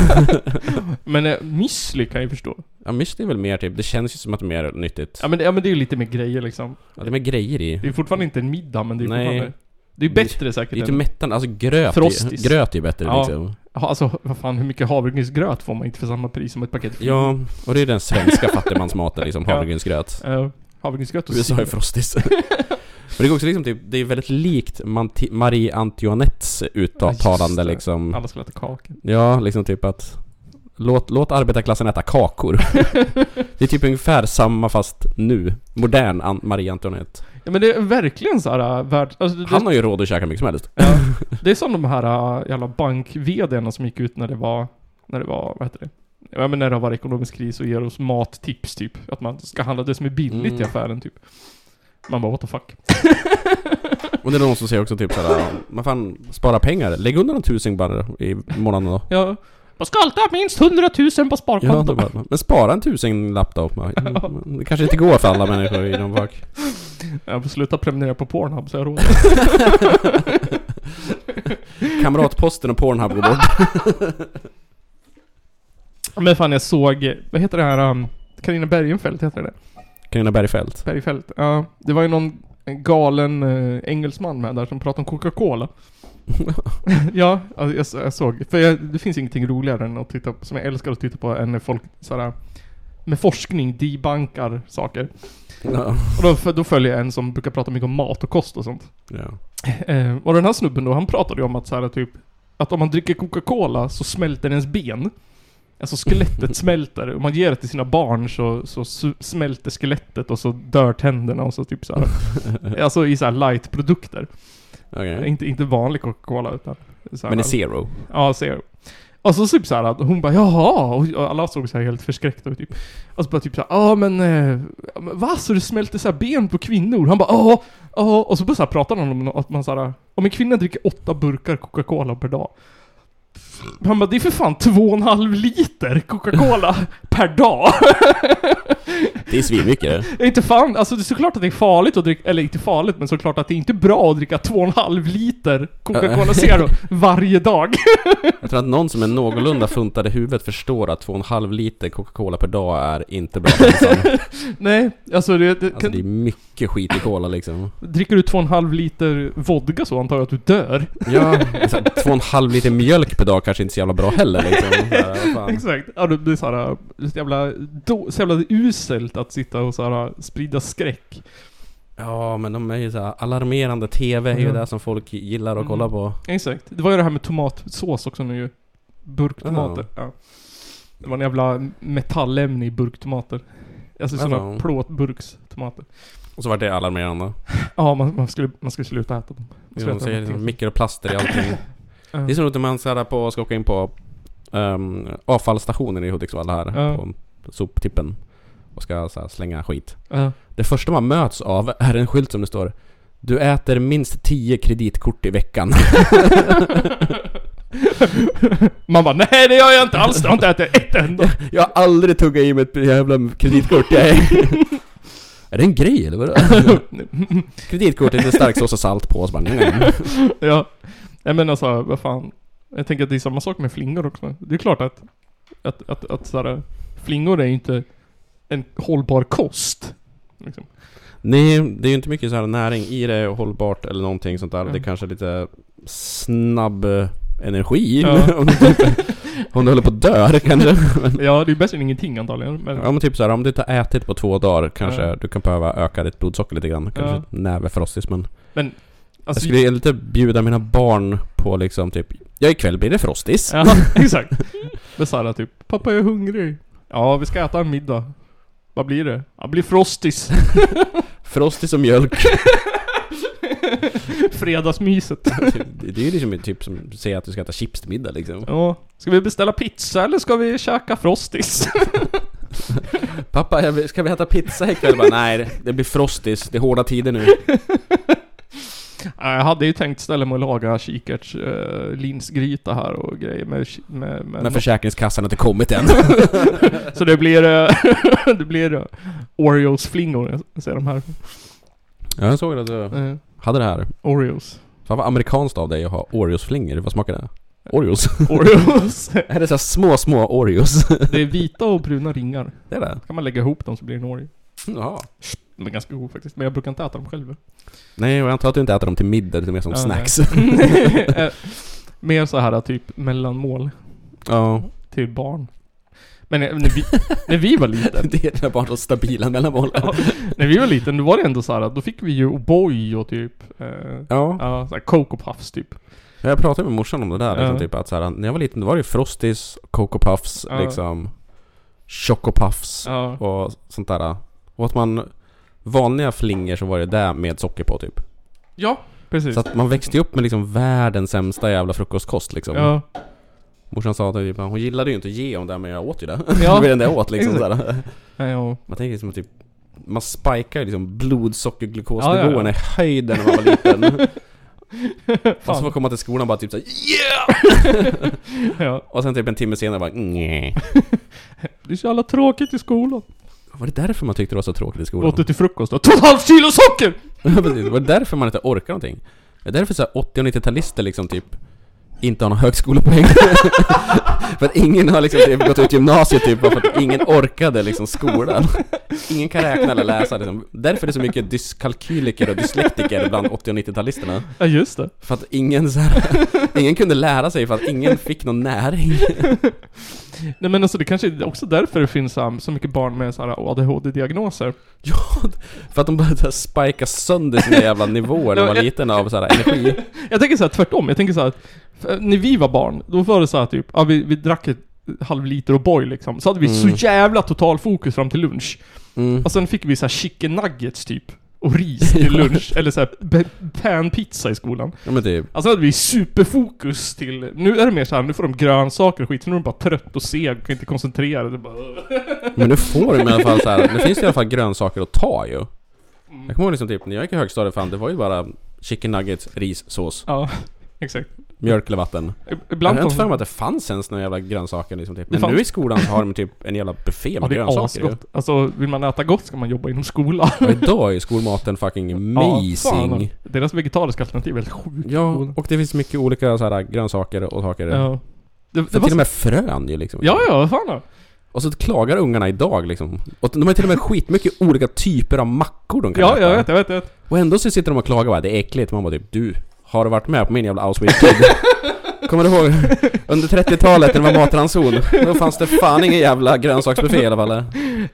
Speaker 1: Men eh, müsli kan jag ju förstå.
Speaker 2: Ja, müsli är väl mer typ, det känns ju som att det är mer nyttigt.
Speaker 1: Ja men, det- ja men det är ju lite mer grejer liksom.
Speaker 2: Ja, det är mer grejer i.
Speaker 1: Det är fortfarande inte en middag men det är
Speaker 2: Nej.
Speaker 1: fortfarande... Det är ju bättre säkert
Speaker 2: Lite
Speaker 1: än...
Speaker 2: mättan, alltså gröt är,
Speaker 1: Frosties.
Speaker 2: gröt är ju bättre
Speaker 1: Ja.
Speaker 2: liksom.
Speaker 1: Ja, alltså vad fan, hur mycket havregrynsgröt får man inte för samma pris som ett paket?
Speaker 2: Ja, och det är den svenska fattigmansmaten liksom,
Speaker 1: Ja.
Speaker 2: havregrynsgröt.
Speaker 1: Eh, havregrynsgröt och
Speaker 2: USA är
Speaker 1: sill.
Speaker 2: frostis. Men det är också liksom typ, det är väldigt likt Manti- Marie Antoinettes
Speaker 1: Ja, just
Speaker 2: uttalande
Speaker 1: det.
Speaker 2: liksom.
Speaker 1: Alla skulle äta kakor.
Speaker 2: Ja, liksom typ att Låt, låt arbetarklassen äta kakor. det är typ ungefär samma fast nu. Modern An- Marie Antoinette.
Speaker 1: Ja men det är verkligen så här äh, värld... Alltså, det,
Speaker 2: Han har ju råd att käka mycket som helst.
Speaker 1: Ja, det är som de här äh, jävla bank som gick ut när det var, när det var, vad heter det? Ja men när det har varit ekonomisk kris och ger oss mattips typ. Att man ska handla det som är billigt i
Speaker 2: Mm.
Speaker 1: affären typ. Man bara what the fuck.
Speaker 2: Och det är någon som säger också typ såhär, man fan spara pengar. Lägg undan en tusing bara i månaden då.
Speaker 1: Ja. Man ska alltid ha minst 100 000 på
Speaker 2: Ja, då
Speaker 1: sparkontot.
Speaker 2: bara, men spara en tusenlapp då. "Mm, Det kanske inte går för alla människor i de fack.
Speaker 1: jag får sluta prenumerera på Pornhub så jag har råd.
Speaker 2: Kamratposten och Pornhub går bort.
Speaker 1: Men fan jag såg, vad heter det här, um, Carina Bergenfeldt heter det?
Speaker 2: Carina Bergfeldt.
Speaker 1: äh, Bergfeldt. Ja, det var ju någon galen eh, engelsman med där som pratade om Coca-Cola. ja, alltså, jag, så- jag såg. För jag, det finns ingenting roligare än att titta på, som jag älskar att titta på, än när folk såhär med forskning debankar saker.
Speaker 2: Ja.
Speaker 1: Och då, för, då följer jag en som brukar prata mycket om mat och kost och sånt.
Speaker 2: Ja.
Speaker 1: Eh, och den här snubben då, han pratade ju om att så här, typ att om man dricker Coca-Cola så smälter ens ben. Alltså skelettet smälter. Om man ger det till sina barn så, så su- smälter skelettet och så dör tänderna och så typ så här. Alltså i så här light-produkter.
Speaker 2: Okej.
Speaker 1: Inte, inte vanlig Coca-Cola utan... Så här,
Speaker 2: Men det är zero.
Speaker 1: Ja, zero. Och så typ såhär att hon bara jaha, och och alla såg såhär helt förskräckta ut typ. Och så bara typ såhär, ja men, eh, ja, men va? Så det smälter såhär ben på kvinnor? Han bara ja, ja. Och så bara såhär pratar han om att man såhär, om en kvinna dricker åtta burkar Coca-Cola per dag. Han bara, det är för fan två och en halv liter Coca-Cola per dag.
Speaker 2: Det är svinmycket.
Speaker 1: Det är inte fan, alltså det är såklart att det är farligt att dricka, eller inte farligt, men såklart att det är inte bra att dricka två och en halv liter Coca-Cola Zero varje dag.
Speaker 2: Jag tror att någon som är någorlunda funtad i huvudet förstår att 2,5 liter Coca-Cola per dag är inte bra för hälsan.
Speaker 1: Nej, alltså det, det,
Speaker 2: Alltså
Speaker 1: kan,
Speaker 2: det är mycket skit i cola liksom.
Speaker 1: dricker du två och en halv liter vodka så antar jag att du dör.
Speaker 2: Ja, så här, 2,5 liter mjölk per dag kanske inte är så jävla bra heller liksom. Så här, vad fan.
Speaker 1: Exakt. Ja, det blir såhär, så jävla, då, så jävla uselt att sitta och såhär sprida skräck.
Speaker 2: Ja, men de är ju så här, alarmerande TV är ju
Speaker 1: Mm.
Speaker 2: det som folk gillar att kolla på.
Speaker 1: Exakt. Det var ju det här med tomatsås också nu ju. Burktomater.
Speaker 2: Ah.
Speaker 1: Ja. Det var en jävla metallämne i burktomater. Alltså sådana
Speaker 2: Ah.
Speaker 1: plåtburkstomater.
Speaker 2: Och så vart det alarmerande.
Speaker 1: Ja, man, man, skulle, man skulle sluta äta dem. Man
Speaker 2: Jo,
Speaker 1: skulle
Speaker 2: de
Speaker 1: äta
Speaker 2: säger liksom
Speaker 1: någonting.
Speaker 2: mikroplaster i allting.
Speaker 1: Ja.
Speaker 2: Det är så roligt när man så här, på, ska åka in på um, avfallsstationen i Hudiksvall här,
Speaker 1: Ja.
Speaker 2: på soptippen. Och ska så här, slänga skit.
Speaker 1: Ja.
Speaker 2: Det första man möts av är en skylt som det står Du äter minst 10 kreditkort i veckan.
Speaker 1: Man bara nej det gör jag inte alls, jag har inte ätit ett enda.
Speaker 2: Jag har aldrig tuggat i mig ett jävla kreditkort. Jag är... är det en grej eller vadå? kreditkort är lite starksås och salt på. Så bara, nej.
Speaker 1: Ja. Jag menar så här, vad fan. Jag tänker att det är samma sak med flingor också. Det är klart att, att, att, att så här, flingor är ju inte en hållbar kost. Liksom.
Speaker 2: nej, det är ju inte mycket så här näring i det och hållbart eller någonting sånt där. Det
Speaker 1: Mm.
Speaker 2: är kanske är lite snabb eh, energi.
Speaker 1: Ja.
Speaker 2: om, du inte, om du håller på att dö kanske.
Speaker 1: Ja, det är bättre än ingenting antagligen. Men,
Speaker 2: Ja men typ så här, om du inte har ätit på två dagar kanske
Speaker 1: Ja.
Speaker 2: du kan behöva öka ditt blodsocker lite grann. Kanske
Speaker 1: Ja.
Speaker 2: en näve frostis men
Speaker 1: men
Speaker 2: Jag
Speaker 1: alltså,
Speaker 2: skulle ju lite bjuda mina barn på liksom typ Ja ikväll blir det frostis.
Speaker 1: Ja, exakt. Men så här, typ, pappa jag är hungrig. Ja, vi ska äta en middag. Vad blir det? Ja, det blir frostis.
Speaker 2: Frostis och mjölk.
Speaker 1: Fredagsmyset.
Speaker 2: det det är ju liksom typ som att säga att du ska äta chips till middag liksom.
Speaker 1: Ja. Ska vi beställa pizza eller ska vi käka frostis?
Speaker 2: Pappa, jag vill- ska vi äta pizza ikväll? Bara, Nej, det- det blir frostis. Det är hårda tider nu.
Speaker 1: Ja, Jag hade ju tänkt ställa mig och laga kikärtslinsgryta linsgryta här och grejer med... ki- med, med
Speaker 2: När Försäkringskassan har inte kommit än.
Speaker 1: Så det blir... eh, det blir eh, Oreos-flingor, jag ser de här.
Speaker 2: Ja, jag såg att du
Speaker 1: Eh,
Speaker 2: hade det här.
Speaker 1: Oreos.
Speaker 2: Fan vad amerikanskt av dig att ha Oreos-flingor. Vad smakar det? Oreos?
Speaker 1: Oreos.
Speaker 2: är det så här små, små Oreos?
Speaker 1: det är vita och bruna ringar.
Speaker 2: det är det?
Speaker 1: Kan man lägga ihop dem så blir det en Oreo.
Speaker 2: Jaha.
Speaker 1: De är ganska god faktiskt, men jag brukar inte äta dem själv.
Speaker 2: Nej, och jag antar att du inte äter dem till middag, utan mer som
Speaker 1: Ja,
Speaker 2: snacks.
Speaker 1: nej. Eh, Mer så här typ mellanmål
Speaker 2: Ja.
Speaker 1: till barn. Men eh, när vi, när vi var liten,
Speaker 2: Det är dina barn stabila mellanmål.
Speaker 1: Ja. När vi var liten, då var det ändå så här, då fick vi ju O'boy och typ... Eh,
Speaker 2: Ja.
Speaker 1: ja, så här Coke och Puffs typ.
Speaker 2: Ja, Jag pratade med morsan om det där, liksom,
Speaker 1: Ja.
Speaker 2: typ att så här, när jag var liten då var det ju Frosties, Coco Puffs,
Speaker 1: Ja.
Speaker 2: liksom Choco Puffs
Speaker 1: Ja.
Speaker 2: och sånt där. Och att man vanliga flingor så var det där med socker på typ.
Speaker 1: Ja, precis.
Speaker 2: Så att man växte ju upp med liksom världens sämsta jävla frukostkost liksom.
Speaker 1: ja.
Speaker 2: Morsan sa att typ, hon gillade ju inte att ge om det men jag åt ju det.
Speaker 1: Ja.
Speaker 2: det var det enda jag åt liksom. Så här.
Speaker 1: Nej, ja.
Speaker 2: Man tänker liksom att typ man spikar ju liksom blodsockerglukosnivåerna
Speaker 1: Ja, ja, ja.
Speaker 2: i höjden när man var liten. och så
Speaker 1: Fan.
Speaker 2: får komma till skolan och bara typ såhär
Speaker 1: ja.
Speaker 2: Och sen typ en timme senare bara nej.
Speaker 1: Det är så jävla tråkigt i skolan.
Speaker 2: Var det därför man tyckte det var så tråkigt i skolan?
Speaker 1: Åt du till frukost då? Två och ett halvt kilo socker!
Speaker 2: Ja, precis. var det därför man inte orkar någonting? Det är därför så här 80 och 90-talister liksom typ inte har någon högskolepoäng. för att ingen har liksom typ gått ut gymnasiet typ bara för att ingen orkade liksom skolan. Ingen kan räkna eller läsa liksom. Därför är det så mycket dyskalkyliker och dyslektiker bland 80 och 90-talisterna.
Speaker 1: Ja, just det.
Speaker 2: För att ingen så här, ingen kunde lära sig för att ingen fick någon näring.
Speaker 1: Nej men alltså det kanske är också därför det finns um, så mycket barn med så här ADHD-diagnoser.
Speaker 2: Ja, för att de började så här spika sönder sina jävla nivåer när de var liten av så här energi.
Speaker 1: Jag tänker så här tvärtom, jag tänker så här att för när vi var barn, då var det så här typ, ja vi, vi drack ett halv liter O'boy liksom, så hade vi så jävla total fokus fram till lunch.
Speaker 2: Mm.
Speaker 1: Och sen fick vi så här chicken nuggets typ, och ris till lunch, eller så här be- panpizza i skolan.
Speaker 2: Ja men typ.
Speaker 1: Alltså hade vi superfokus till, nu är det mer så här, nu får de grönsaker och skit, för nu är de bara trött och seg, kan inte koncentrera sig. Det är bara...
Speaker 2: Men nu får de i alla fall så här, nu finns det i alla fall grönsaker att ta ju.
Speaker 1: Mm.
Speaker 2: Jag kommer ihåg liksom typ när jag gick i högstadiet fan, det var ju bara chicken nuggets, ris, sås,
Speaker 1: Ja, exakt.
Speaker 2: mjölk eller vatten. Jag
Speaker 1: Ibland
Speaker 2: har inte
Speaker 1: får
Speaker 2: för mig att
Speaker 1: de...
Speaker 2: det fanns ens några jävla grönsaker liksom typ.
Speaker 1: Det
Speaker 2: Men
Speaker 1: fanns-
Speaker 2: nu i skolan så har de typ en jävla buffé
Speaker 1: Ja,
Speaker 2: med
Speaker 1: det är
Speaker 2: grönsakor ju.
Speaker 1: asgott. Alltså, vill man äta gott ska man jobba inom skolan.
Speaker 2: Och idag är skolmaten fucking
Speaker 1: Ja, fan.
Speaker 2: amazing.
Speaker 1: Deras vegetariska alternativ är helt sjukt.
Speaker 2: Ja, och det finns mycket olika så här grönsaker och saker.
Speaker 1: Ja. Det, det
Speaker 2: För
Speaker 1: var
Speaker 2: till
Speaker 1: så...
Speaker 2: och med frön ju liksom.
Speaker 1: Ja, ja, vad fan då?
Speaker 2: Och så klagar ungarna idag liksom. Och de har ju till och med skitmycket olika typer av mackor de kan
Speaker 1: Ja,
Speaker 2: äta.
Speaker 1: jag vet, jag vet, jag vet.
Speaker 2: Och ändå så sitter de och klagar bara, det är äckligt. Man bara typ, du, har du varit med på min jävla Auschwitz-tid? Kommer du ihåg? Under 30-talet när det var matranson, då fanns det fan ingen jävla grönsaksbuffé i alla fall.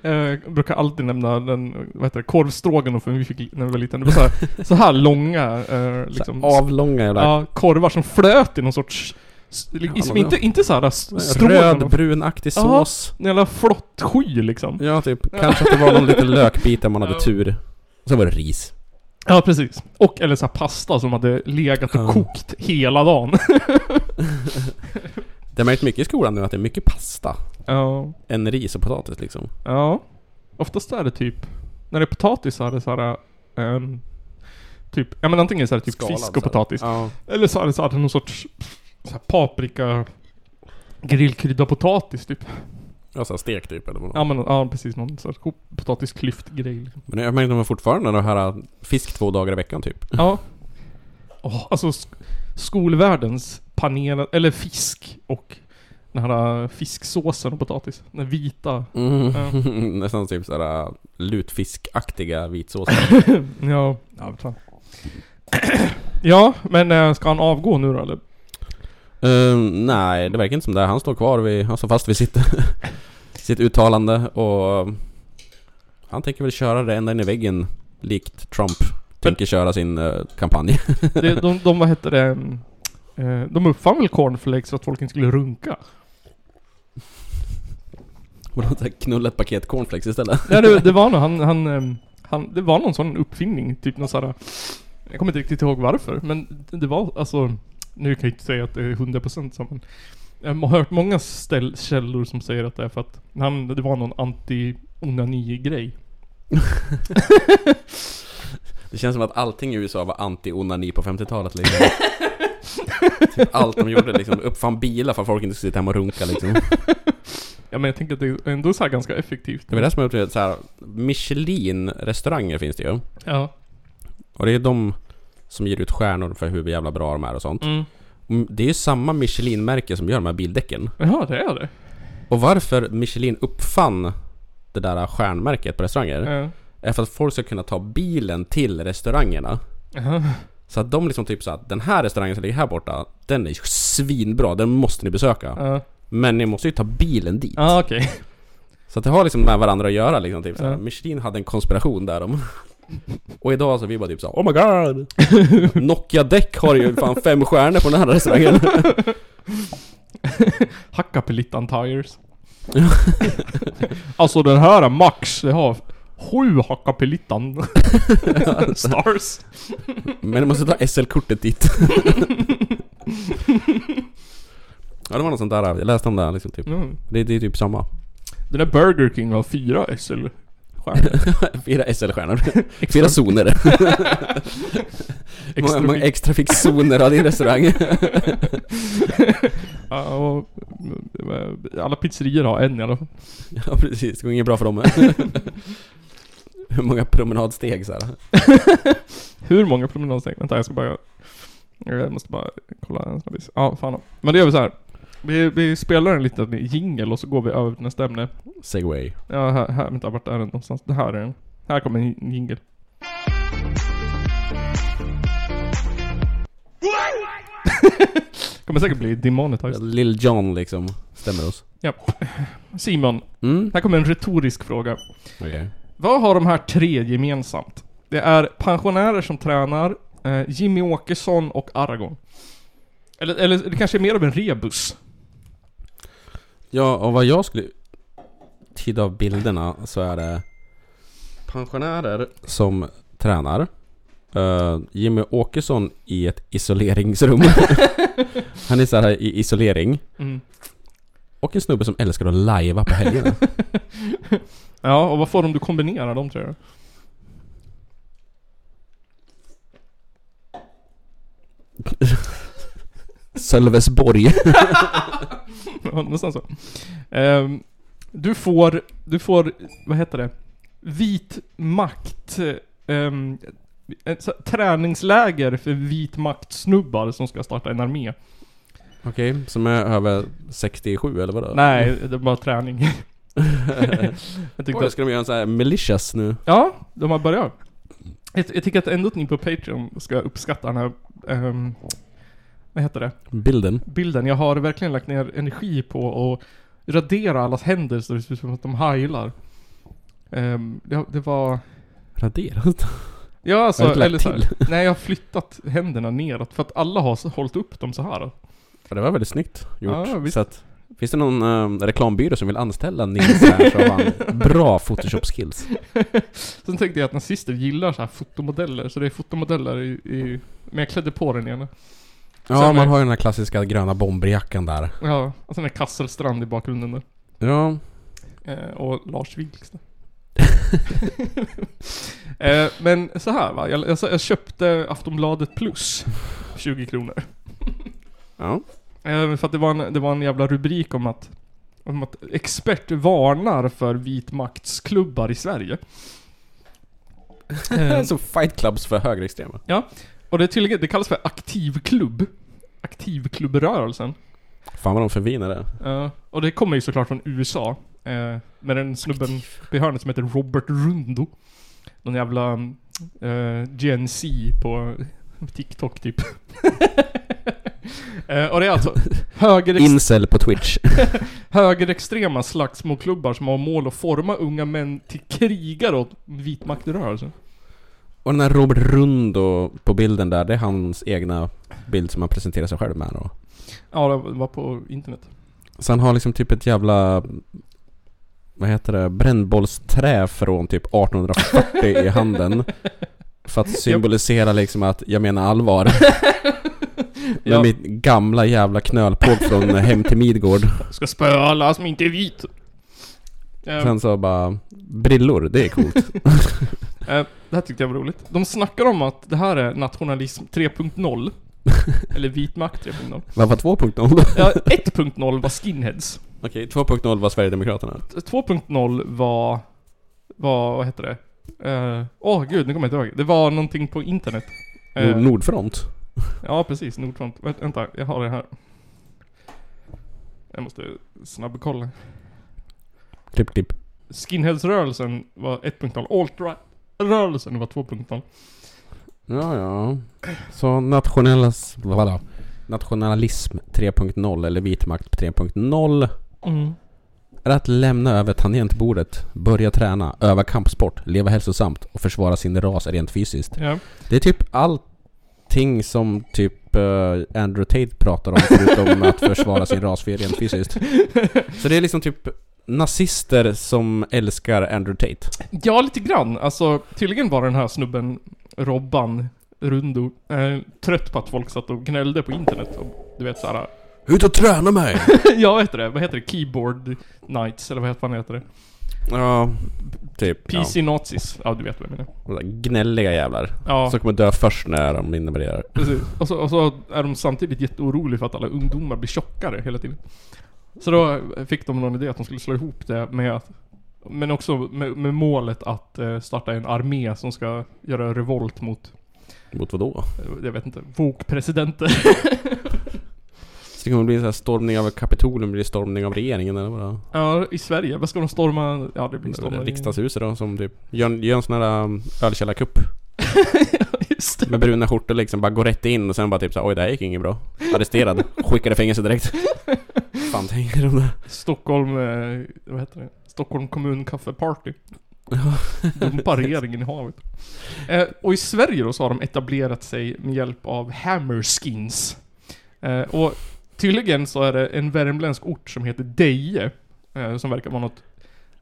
Speaker 1: Eh, Jag brukar alltid nämna den, vad heter det, korvstroganoff vi fick när vi var liten. Det var så här, så här långa, eh, liksom...
Speaker 2: så avlånga jävla...
Speaker 1: ja, korvar som flöt i någon sorts... s- Liksom,
Speaker 2: men-
Speaker 1: inte, inte såhär stroganoff.
Speaker 2: Rödbrunaktig
Speaker 1: Ja.
Speaker 2: sås.
Speaker 1: En jävla flott sky liksom.
Speaker 2: Ja, typ. Kanske att det var någon liten lökbit där man hade tur. Och sen var det ris.
Speaker 1: Ja, precis. Och eller så här pasta som hade legat och
Speaker 2: Ja.
Speaker 1: kokt hela dagen.
Speaker 2: Det har märkt mycket i skolan nu att det är mycket pasta.
Speaker 1: ja.
Speaker 2: Än ris och potatis liksom.
Speaker 1: Ja. Oftast är det typ... När det är potatis så är det såhär... Um, typ... Ja men antingen så är det typ
Speaker 2: Skalad,
Speaker 1: fisk
Speaker 2: så
Speaker 1: och
Speaker 2: här.
Speaker 1: potatis.
Speaker 2: Ja.
Speaker 1: Eller så är det såhär någon sorts... Så här, paprika... Grillkrydda potatis typ.
Speaker 2: Ja, så här stek typ eller vad.
Speaker 1: Ja men ja, precis. Någon sorts potatisklyftgrej. Liksom.
Speaker 2: Men jag märkte att de har fortfarande de här fisk två dagar i veckan typ.
Speaker 1: Ja. Åh, alltså sk- skolvärldens panerad... Eller fisk och den här äh, fisksåsen och potatis. Den vita.
Speaker 2: Mm. Nästan typ sådär äh, lutfiskaktiga vitsåser.
Speaker 1: Ja. Ja, vad fan. ja men äh, ska han avgå nu då eller?
Speaker 2: Ehm, nej, det verkar inte som det. Han står kvar vid, han står fast vid sitt, sitt uttalande och eh, han tänker väl köra det ända in i väggen likt Trump. Tänker köra sin eh, kampanj.
Speaker 1: Det, de, de, vad hette det? mm, eh, De uppfann väl cornflakes för att folk inte skulle runka?
Speaker 2: Och då så här knulla ett paket cornflakes istället.
Speaker 1: Nej, det, det var nog han, han, ehm, han, det var någon sån uppfinning, typ någon sån här, Jag kommer inte riktigt ihåg varför, men det var alltså... Nu kan jag inte säga att det är 100% så, men... Jag har hört många ställ, källor som säger att det är för att han, det var någon anti-onani-grej.
Speaker 2: Det känns som att allting i USA var anti-onani på 50-talet liksom. typ allt de gjorde liksom. Uppfann bilar för att folk inte skulle sitta hemma och runka liksom.
Speaker 1: Ja men jag tänker att det är ändå så här ganska effektivt.
Speaker 2: Det var det som jag upplevde så här. Michelin-restauranger finns det ju.
Speaker 1: Ja.
Speaker 2: Och det är de som ger ut stjärnor för hur jävla bra de är och sånt.
Speaker 1: Mm.
Speaker 2: Mm, Det är ju samma Michelin-märke som gör de här bildäcken.
Speaker 1: Jaha, det är det?
Speaker 2: Och varför Michelin uppfann det där stjärnmärket på restauranger
Speaker 1: Ja.
Speaker 2: är för att folk ska kunna ta bilen till restaurangerna.
Speaker 1: Jaha.
Speaker 2: Så att de liksom typ så att den här restaurangen som ligger här borta, den är svinbra, den måste ni besöka.
Speaker 1: Ja.
Speaker 2: Men ni måste ju ta bilen dit.
Speaker 1: Ja, okej.
Speaker 2: Så att det har liksom med varandra att göra liksom. Typ, så här,
Speaker 1: Ja.
Speaker 2: Michelin hade en konspiration där om. Och idag så är vi bara typ så här, Oh my god! Nokia-däck har ju fan fem stjärnor på den här restaurangen.
Speaker 1: Hackapelittan Tires. alltså den här Max, det har sju Hackapelittan Stars.
Speaker 2: Men du måste ta SL-kortet dit. ja, det var något sånt där. Jag läste om det här liksom typ.
Speaker 1: Mm.
Speaker 2: Det, det är typ samma.
Speaker 1: Den där Burger King har fyra SL. stjärnor.
Speaker 2: Fyra SL-stjärnor. Fyra zoner. Extra
Speaker 1: Extra
Speaker 2: många, många
Speaker 1: mycket.
Speaker 2: extra fick zoner av din restaurang.
Speaker 1: Ja, och, eh, alla pizzerior har en i alla fall.
Speaker 2: ja, precis. Det går inget bra för dem. Hur många promenadsteg så här.
Speaker 1: Hur många promenadsteg? Vänta jag ska bara... Jag måste bara kolla en snabbis. Ja, fan. Men det gör vi så här. Vi, vi spelar en liten jingle och så går vi över till nästa ämne.
Speaker 2: Segway.
Speaker 1: Ja, här, här, vänta, vart är den någonstans? Det här är den. Här kommer en jingel. kommer säkert bli demonetized.
Speaker 2: Lill John liksom stämmer oss.
Speaker 1: Ja. Simon,
Speaker 2: Mm.
Speaker 1: här kommer en retorisk fråga.
Speaker 2: Okej.
Speaker 1: Vad har de här tre gemensamt? Det är pensionärer som tränar, eh, Jimmy Åkesson och Aragon. Eller, eller det kanske är mer av en rebus.
Speaker 2: Ja, och vad jag skulle tyda av bilderna så är det pensionärer som tränar. Eh, Jimmy Åkesson i ett isoleringsrum. Han är så här i isolering.
Speaker 1: Mm.
Speaker 2: Och en snubbe som älskar att lajva på helgerna.
Speaker 1: Ja, och vad får de om du kombinerar de tre?
Speaker 2: Sölvesborg.
Speaker 1: Ja, Nästan så. Ehm, du får, du får, vad heter det? Vit makt... Um, ett så- träningsläger för vit makt-snubbar som ska starta en armé.
Speaker 2: Okej, som är över 67 eller vadå?
Speaker 1: Nej, det är bara träning. jag
Speaker 2: Oj,
Speaker 1: tyckte
Speaker 2: då
Speaker 1: att,
Speaker 2: ska de göra en sån här militias nu.
Speaker 1: ja, de har börjat. Jag, jag tycker att ändå att ni på Patreon ska uppskatta den här, ehm, vad heter det?
Speaker 2: Bilden.
Speaker 1: bilden. Jag har verkligen lagt ner energi på att radera allas händer så det ser ut som att de heilar. Ehm, det, det var...
Speaker 2: Raderat.
Speaker 1: Ja, alltså,
Speaker 2: Har du inte lagt
Speaker 1: eller så här, Nej, jag har flyttat händerna neråt för att alla har så- hållit upp dem så här.
Speaker 2: Ja, det var väldigt snyggt gjort.
Speaker 1: Ja, visst.
Speaker 2: så att, finns det någon ehm, reklambyrå som vill anställa Nils här så har han bra photoshop skills.
Speaker 1: Sen tänkte jag att nazister gillar så här fotomodeller, så det är fotomodeller i... i men jag klädde på den ena.
Speaker 2: Ja, man har ju den här klassiska gröna bomberjackan där.
Speaker 1: Ja, och sen är Kasselstrand i bakgrunden där.
Speaker 2: Ja,
Speaker 1: Eh, och Lars Vilks då. eh, Men så här va, jag, jag, jag köpte Aftonbladet plus 20 kronor.
Speaker 2: ja.
Speaker 1: Eh, för att det var, en, det var en jävla rubrik om att, om att expert varnar för vitmaktsklubbar i Sverige. Eh,
Speaker 2: så fight clubs för högerextrema.
Speaker 1: och det, är tydligen, det kallas för aktivklubb. Aktivklubbrörelsen.
Speaker 2: Fan vad de förvinar det.
Speaker 1: Eh, och det kommer ju såklart från USA. Eh, med den snubben vid hörnet som heter Robert Rundo. Någon jävla eh, Gen Z på TikTok typ. eh, och det är alltså högerex-
Speaker 2: Incel på Twitch.
Speaker 1: högerextrema slagsmålklubbar som har mål att forma unga män till krigare åt vitmaktrörelsen.
Speaker 2: Och den här Robert Rundo på bilden där, det är hans egna bild som han presenterar sig själv med då.
Speaker 1: Ja, det var på internet.
Speaker 2: Så han har liksom typ ett jävla... Vad heter det? Brännbollsträ från typ 1840 i handen. För att symbolisera liksom att jag menar allvar. Med
Speaker 1: Ja.
Speaker 2: mitt gamla jävla knölpåg från hem till Midgård.
Speaker 1: Ska spöa alla som inte är vit. Eh,
Speaker 2: Sen så bara... Brillor, det är coolt.
Speaker 1: Eh, det här tyckte jag var roligt. De snackar om att det här är nationalism 3.0. Eller vit makt 3.0.
Speaker 2: Vad var 2.0?
Speaker 1: Ja, 1.0 var skinheads.
Speaker 2: Okej, 2.0 var Sverigedemokraterna.
Speaker 1: 2.0 var... var vad heter det? Eh, Åh gud, nu kommer jag inte ihåg. Det var någonting på internet. Eh,
Speaker 2: Nord- Nordfront.
Speaker 1: Ja, precis. Nordfront. Vä- Vänta, jag har det här. Jag måste snabbkolla.
Speaker 2: Klipp, klipp.
Speaker 1: Skinheads-rörelsen var 1.0. Alt-rörelsen var 2.0.
Speaker 2: Ja, ja. Så nationella... Vadå? Nationalism 3.0 eller vitmakt 3.0
Speaker 1: Mm.
Speaker 2: är att lämna över tangentbordet, börja träna, öva kampsport, leva hälsosamt och försvara sin ras rent fysiskt.
Speaker 1: Ja.
Speaker 2: Det är typ allting som typ eh, Andrew Tate pratar om förutom att försvara sin ras för rent fysiskt. Så det är liksom typ nazister som älskar Andrew Tate.
Speaker 1: Ja, lite grann. Alltså, tydligen var den här snubben, Robban Rundo, eh, trött på att folk satt och gnällde på internet. Och, du vet såhär...
Speaker 2: Ut och träna mig!
Speaker 1: ja, vad heter det? Vad heter det? Keyboard Knights, eller vad heter, vad heter det?
Speaker 2: ja, typ.
Speaker 1: PC Nazis. Ja, du vet vad jag menar.
Speaker 2: Ja. Gnälliga jävlar.
Speaker 1: Ja.
Speaker 2: Som kommer dö först när de invaderar.
Speaker 1: Precis. Och så, och så är de samtidigt jätteoroliga för att alla ungdomar blir tjockare hela tiden. Så då fick de någon idé att de skulle slå ihop det med att men också med, med målet att eh, starta en armé som ska göra revolt mot eh,
Speaker 2: Mot vad då?
Speaker 1: Jag vet inte. Vok-presidenter.
Speaker 2: Så det kommer bli så här stormning av Kapitolium, blir det stormning av regeringen eller vadå?
Speaker 1: ja, i Sverige. Vad ska de storma? Ja, det blir stormar. i-
Speaker 2: Riksdagshuset då som typ gör, en- gör en sån här um, ölkällarkupp
Speaker 1: Just det.
Speaker 2: med bruna skjortor liksom, bara går rätt in och sen bara typ såhär oj det här gick inget bra. Arresterad, skickade i fängelse direkt. Fan tänker de där?
Speaker 1: Stockholm... eh, Vad heter det? Stockholm kommun kaffeparty. Dumpar regeringen i havet. Eh, och i Sverige då så har de etablerat sig med hjälp av Hammerskins. Eh, och tydligen så är det en värmländsk ort som heter Deje. Eh, som verkar vara något...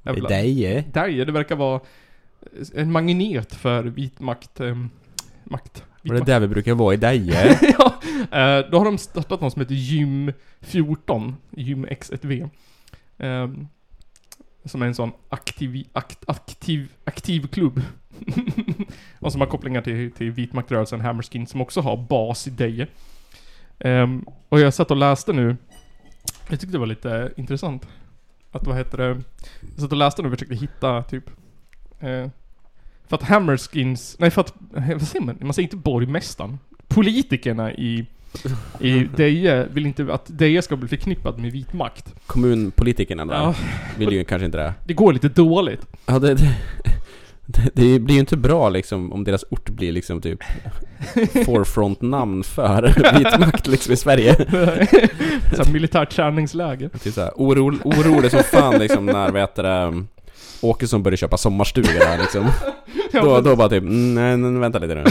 Speaker 1: jävla-
Speaker 2: Deje?
Speaker 1: Deje, det verkar vara en magnet för vit makt... Eh, makt. Vit
Speaker 2: Var det
Speaker 1: makt.
Speaker 2: där vi brukar vara i Deje?
Speaker 1: ja, eh, då har de startat något som heter Gym 14, Gym X1V. ehm, som är en sån aktiv, akt, aktiv, aktiv klubb. och som har kopplingar till, till vitmaktrörelsen Hammerskin som också har bas i Deje. Ehm, och jag satt och läste nu, jag tyckte det var lite intressant. Att vad heter det? Jag satt och läste nu och försökte hitta typ eh, för att Hammerskins, nej för att, vad säger man? Man säger inte borgmästaren. Politikerna i, i Deje vill inte att Deje ska bli förknippat med vit makt.
Speaker 2: Kommunpolitikerna där
Speaker 1: Ja.
Speaker 2: vill ju kanske inte det.
Speaker 1: Det går lite dåligt.
Speaker 2: Ja, det, det, det, det blir ju inte bra liksom om deras ort blir liksom typ forefront-namn för vit makt liksom i Sverige.
Speaker 1: Såhär militärt träningsläger.
Speaker 2: Typ såhär, oro, orolig som fan liksom när vet du, det, Åkesson börjar köpa sommarstuga där liksom. Då, då bara typ, mm, nej, nej vänta lite nu.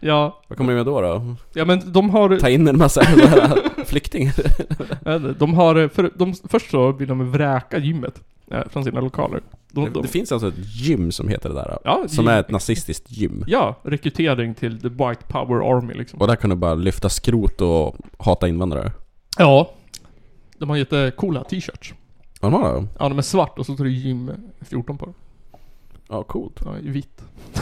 Speaker 1: Ja,
Speaker 2: Vad kommer vi med då då?
Speaker 1: ja men de har...
Speaker 2: Ta in en massa så här flyktingar?
Speaker 1: eh, De har för, de, först så vill de vräka gymmet eh, från sina lokaler. De,
Speaker 2: Det,
Speaker 1: de,
Speaker 2: det finns alltså ett gym som heter det där.
Speaker 1: Ja,
Speaker 2: som
Speaker 1: gym.
Speaker 2: är ett nazistiskt gym.
Speaker 1: ja, rekrytering till the White Power Army liksom.
Speaker 2: Och där kan du bara lyfta skrot och hata invandrare.
Speaker 1: Ja. De har jättecoola t-shirts.
Speaker 2: Ja, de har det.
Speaker 1: Ja, de är svart och så står det gym 14 på dem.
Speaker 2: Ja, coolt.
Speaker 1: Ja, i vitt.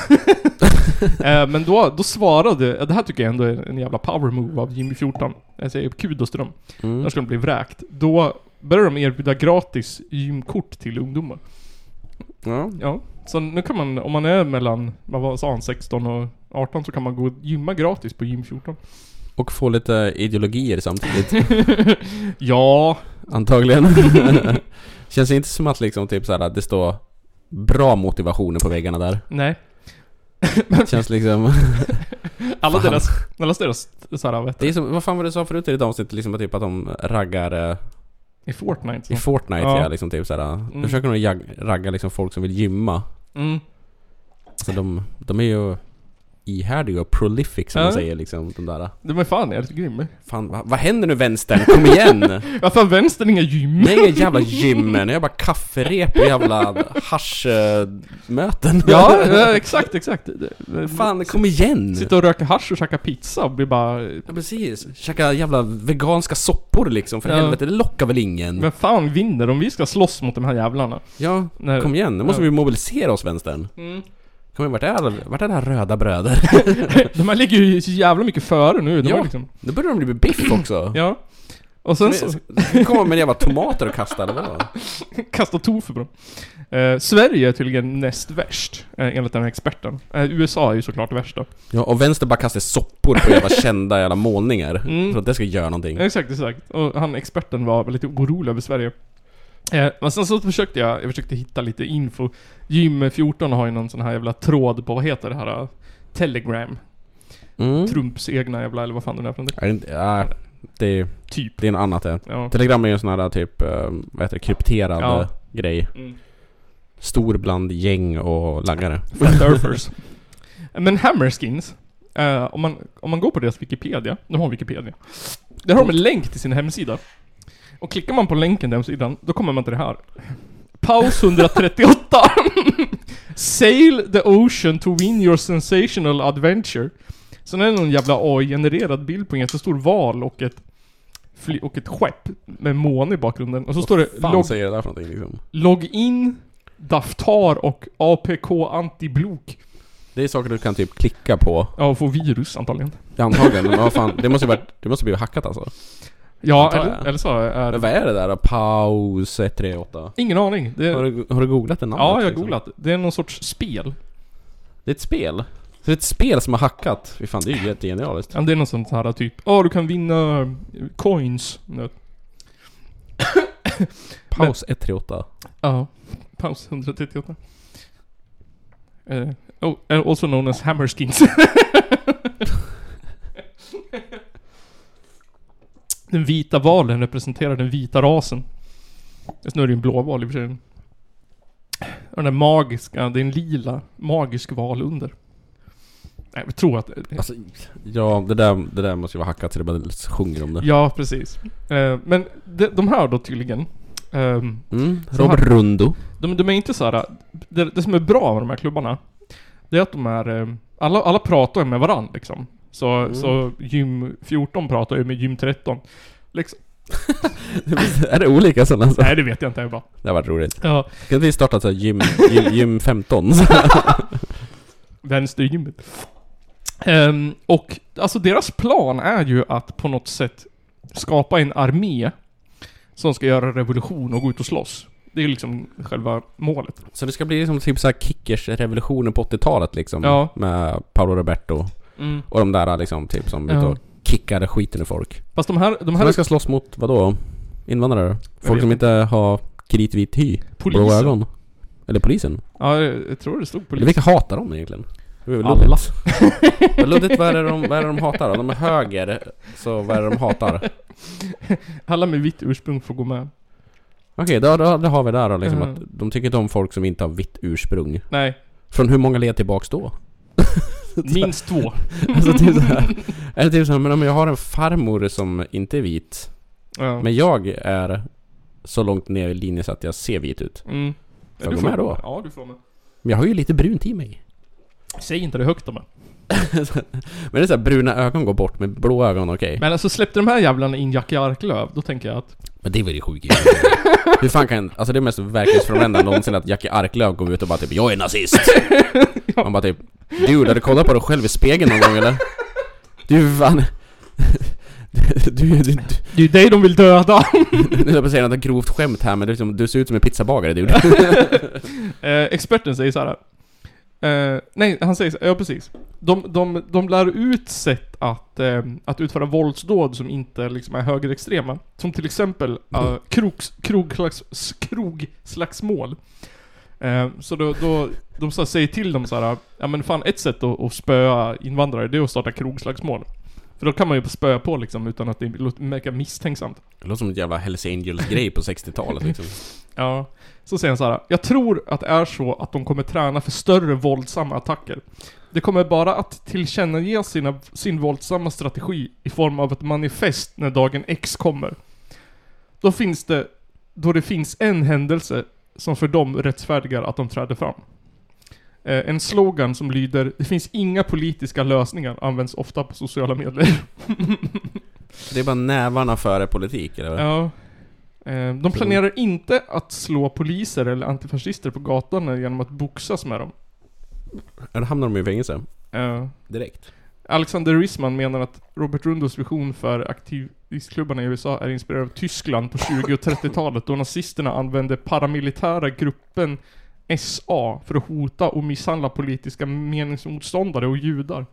Speaker 1: eh, men då, då svarade, ja, det här tycker jag ändå är en jävla power move av Jimmy 14. Jag säger kudos till dem.
Speaker 2: Mm.
Speaker 1: Där ska de bli vräkt. Då började de erbjuda gratis gymkort till ungdomar.
Speaker 2: Ja.
Speaker 1: Ja. Så nu kan man, om man är mellan, vad var- sa han, 16 och 18 så kan man gå och gymma gratis på gym 14.
Speaker 2: Och få lite ideologier samtidigt,
Speaker 1: Ja,
Speaker 2: antagligen. Känns det inte som att liksom typ såhär, det står bra motivationer på väggarna där?
Speaker 1: nej.
Speaker 2: Känns liksom...
Speaker 1: Alla
Speaker 2: Fan.
Speaker 1: deras, alla deras såhär, vad heter
Speaker 2: Det är som, vad fan var det du sa förut i ditt avsnitt? Liksom att typ att de raggar eh,
Speaker 1: det? I Fortnite.
Speaker 2: i
Speaker 1: Så.
Speaker 2: Fortnite
Speaker 1: Ja.
Speaker 2: ja, liksom typ såhär. Mm. Då försöker de jag, ragga liksom folk som vill gymma.
Speaker 1: Mm.
Speaker 2: Så de, de är ju ihärdiga och prolific som
Speaker 1: Ja.
Speaker 2: man säger liksom, de där.
Speaker 1: De är fan jävligt grymma.
Speaker 2: Fan, va, vad händer nu vänstern? Kom igen!
Speaker 1: Varför har vänstern inga gym?
Speaker 2: Det är inga jävla gymmen, det är bara kafferep och jävla haschmöten.
Speaker 1: Ja, ja, exakt, exakt. Det- det-
Speaker 2: Fan, kom igen!
Speaker 1: Sitta och röka hasch och käka pizza och bli bara...
Speaker 2: Ja precis, käka jävla veganska soppor liksom, för
Speaker 1: Ja.
Speaker 2: helvete, det lockar väl ingen?
Speaker 1: Vem fan vinner om vi ska slåss mot de här jävlarna?
Speaker 2: Ja,
Speaker 1: Nej.
Speaker 2: kom igen, nu måste
Speaker 1: Ja.
Speaker 2: vi mobilisera oss vänstern. Kom igen, vart är, alla- vart är det här röda bröder?
Speaker 1: De här ligger ju så jävla mycket före nu. De
Speaker 2: Ja.
Speaker 1: har liksom,
Speaker 2: Nu börjar de bli biff också.
Speaker 1: ja. Och sen så
Speaker 2: Nu kommer med jävla tomater och kasta eller vadå?
Speaker 1: kastar tofu på dem. Eh, Sverige är tydligen näst värst, eh, enligt den här experten. Eh, USA är ju såklart värst då.
Speaker 2: Ja, och vänster bara kastar soppor på jävla kända jävla målningar.
Speaker 1: Mm.
Speaker 2: För att det ska göra någonting.
Speaker 1: Exakt, exakt. Och han experten var lite orolig över Sverige. Eh, men sen så försökte jag, jag försökte hitta lite info. Gym 14 har ju någon sån här jävla tråd på, vad heter det här? eh, Telegram.
Speaker 2: Mm.
Speaker 1: Trumps egna jävla, eller vad fan det är för någonting.
Speaker 2: Är det inte, ja, det, är,
Speaker 1: Typ.
Speaker 2: det är något annat det.
Speaker 1: Ja.
Speaker 2: Telegram är ju en sån här typ, eh, vad heter det, krypterad
Speaker 1: Ja.
Speaker 2: eh, grej.
Speaker 1: Mm.
Speaker 2: Stor bland gäng och laggare.
Speaker 1: Flat Earthers. Men Hammerskins, eh, om, man, om man går på deras Wikipedia, de har Wikipedia. Där har de en länk till sin hemsida. Och klickar man på länken till hemsidan, då kommer man till det här. Paus 138. Sail the ocean to win your sensational adventure. Sen är det någon jävla AI-genererad bild på en jättestor val och ett, fly- och ett skepp med måne i bakgrunden. Och så står det
Speaker 2: Fan
Speaker 1: log-
Speaker 2: säger det där för någonting liksom?
Speaker 1: Login, Daftar och APK antiblok.
Speaker 2: Det är saker du kan typ klicka på.
Speaker 1: Ja, och få virus antagligen.
Speaker 2: Antagligen, men vad fan, det måste ju varit, det måste bli hackat alltså.
Speaker 1: Ja,
Speaker 2: Antar jag.
Speaker 1: eller, eller så är
Speaker 2: Men
Speaker 1: det...
Speaker 2: vad är det där då? Paus 138?
Speaker 1: Ingen aning. Det,
Speaker 2: Har du, har du googlat det namnet?
Speaker 1: ja, jag har
Speaker 2: liksom?
Speaker 1: googlat. Det är någon sorts spel.
Speaker 2: Det är ett spel? Så det är ett spel som har hackat. Fy fan, det är ju jättegenialiskt.
Speaker 1: Ja, Det är något sånt här typ, åh du kan vinna eh, coins. Nu.
Speaker 2: Paus 138.
Speaker 1: Ja. Paus 138. Eh, oh, eh, also known as Hammerskins. den vita valen representerar den vita rasen. Just nu är det ju en blå val i och för sig. Och den där magiska, det är en lila magisk val under. Nej, Jag tror att...
Speaker 2: Alltså, ja det där, det där måste ju vara hackat så det bara sjunger om det.
Speaker 1: Ja, precis. Eh, men de, de här då tydligen. ehm,
Speaker 2: Mm. Robert
Speaker 1: Så
Speaker 2: Rundo.
Speaker 1: De, de är inte så här. Det, det som är bra med de här klubbarna, det är att de är... eh, Alla, alla pratar ju med varandra liksom. Så,
Speaker 2: Mm.
Speaker 1: så gym 14 pratar ju med gym 13. Liksom.
Speaker 2: är det olika sådana? Alltså?
Speaker 1: Nej, det vet jag inte. Jag bara.
Speaker 2: Det har varit roligt.
Speaker 1: Ja,
Speaker 2: Kan inte vi starta ett så här gym, gym, gym 15?
Speaker 1: vänstergymmet. Ehm, och alltså deras plan är ju att på något sätt skapa en armé som ska göra revolution och gå ut och slåss. Det är liksom själva målet.
Speaker 2: så det ska bli som typ så här kickers-revolutionen på 80-talet liksom.
Speaker 1: Ja.
Speaker 2: Med Paolo Roberto och de där liksom typ som
Speaker 1: Ja.
Speaker 2: ja. och kickade skiten ur folk.
Speaker 1: Fast de här, de
Speaker 2: Så
Speaker 1: här
Speaker 2: man ska slåss mot vadå? Invandrare? Folk
Speaker 1: vet
Speaker 2: som inte har kritvit hy?
Speaker 1: Polisen.
Speaker 2: Blå ögon? Eller polisen?
Speaker 1: Ja, jag jag tror det stod på
Speaker 2: Eller vilka hatar de egentligen? Det är väl
Speaker 1: Alla.
Speaker 2: luddigt. Vad luddigt, vad är det de, vad är det de hatar då? De är höger, så vad är det de hatar? Okej,
Speaker 1: Alla med vitt ursprung får gå med.
Speaker 2: då, då, då har vi där då liksom
Speaker 1: Mm.
Speaker 2: att de tycker inte om folk som inte har vitt ursprung.
Speaker 1: Nej,
Speaker 2: Från hur många led tillbaks då?
Speaker 1: minst två.
Speaker 2: Alltså typ såhär, eller typ såhär, men om jag har en farmor som inte är vit,
Speaker 1: Ja.
Speaker 2: men jag är så långt ner i linjen så att jag ser vit ut.
Speaker 1: Mm.
Speaker 2: Får jag gå med då?
Speaker 1: Ja, du får med.
Speaker 2: Men jag har ju lite brunt i mig.
Speaker 1: Säg inte det högt om det.
Speaker 2: Men det är såhär, bruna ögon går bort, men blå ögon okej. Men,
Speaker 1: Men alltså släppte de här jävlarna in Jackie Arklöv, då tänker jag att...
Speaker 2: det var ju sjukt Hur fan kan, alltså det är mest verklighetsfrånvända någonsin att Jackie Arklöv går ut och bara typ 'Jag är nazist' Man bara typ 'Dude, har du kollat på dig själv i spegeln någon gång eller?' Du fan... Du, du, du,
Speaker 1: Det är ju dig de vill döda!
Speaker 2: nu höll jag på att säga något grovt skämt här men det är liksom, du ser ut som en pizzabagare dude.
Speaker 1: eh, experten säger så här. Eh, nej, han säger så, ja precis. De, de, de lär ut sätt att, eh, att utföra våldsdåd som inte liksom är högerextrema. Som till exempel eh, krogs, krogslags, s- krogslagsmål. Eh, så då, då de så här, säger till dem så här, ja men fan ett sätt att, att spöa invandrare det är att starta krogslagsmål. För då kan man ju spöa på liksom utan att det låter- verkar misstänksamt.
Speaker 2: Det låter som en jävla Hells Angels-grej på 60-talet liksom.
Speaker 1: Ja. Så säger han så här. Jag tror att det är så att de kommer träna för större våldsamma attacker. Det kommer bara att tillkännage sina, sin våldsamma strategi i form av ett manifest när dagen X kommer. Då finns det, då det finns en händelse som för dem rättfärdigar att de träder fram. Eh, en slogan som lyder Det finns inga politiska lösningar används ofta på sociala medier.
Speaker 2: Det är bara nävarna före politik eller?
Speaker 1: Ja. Eh, De planerar inte att slå poliser eller antifascister på gatan genom att boxas med dem.
Speaker 2: Eller hamnar de i fängelse?
Speaker 1: Eh,
Speaker 2: Direkt.
Speaker 1: Alexander Risman menar att Robert Rundos vision för aktivistklubbarna i USA är inspirerad av Tyskland på 20 och 30-talet då nazisterna använde paramilitära gruppen SA för att hota och misshandla politiska meningsmotståndare och judar.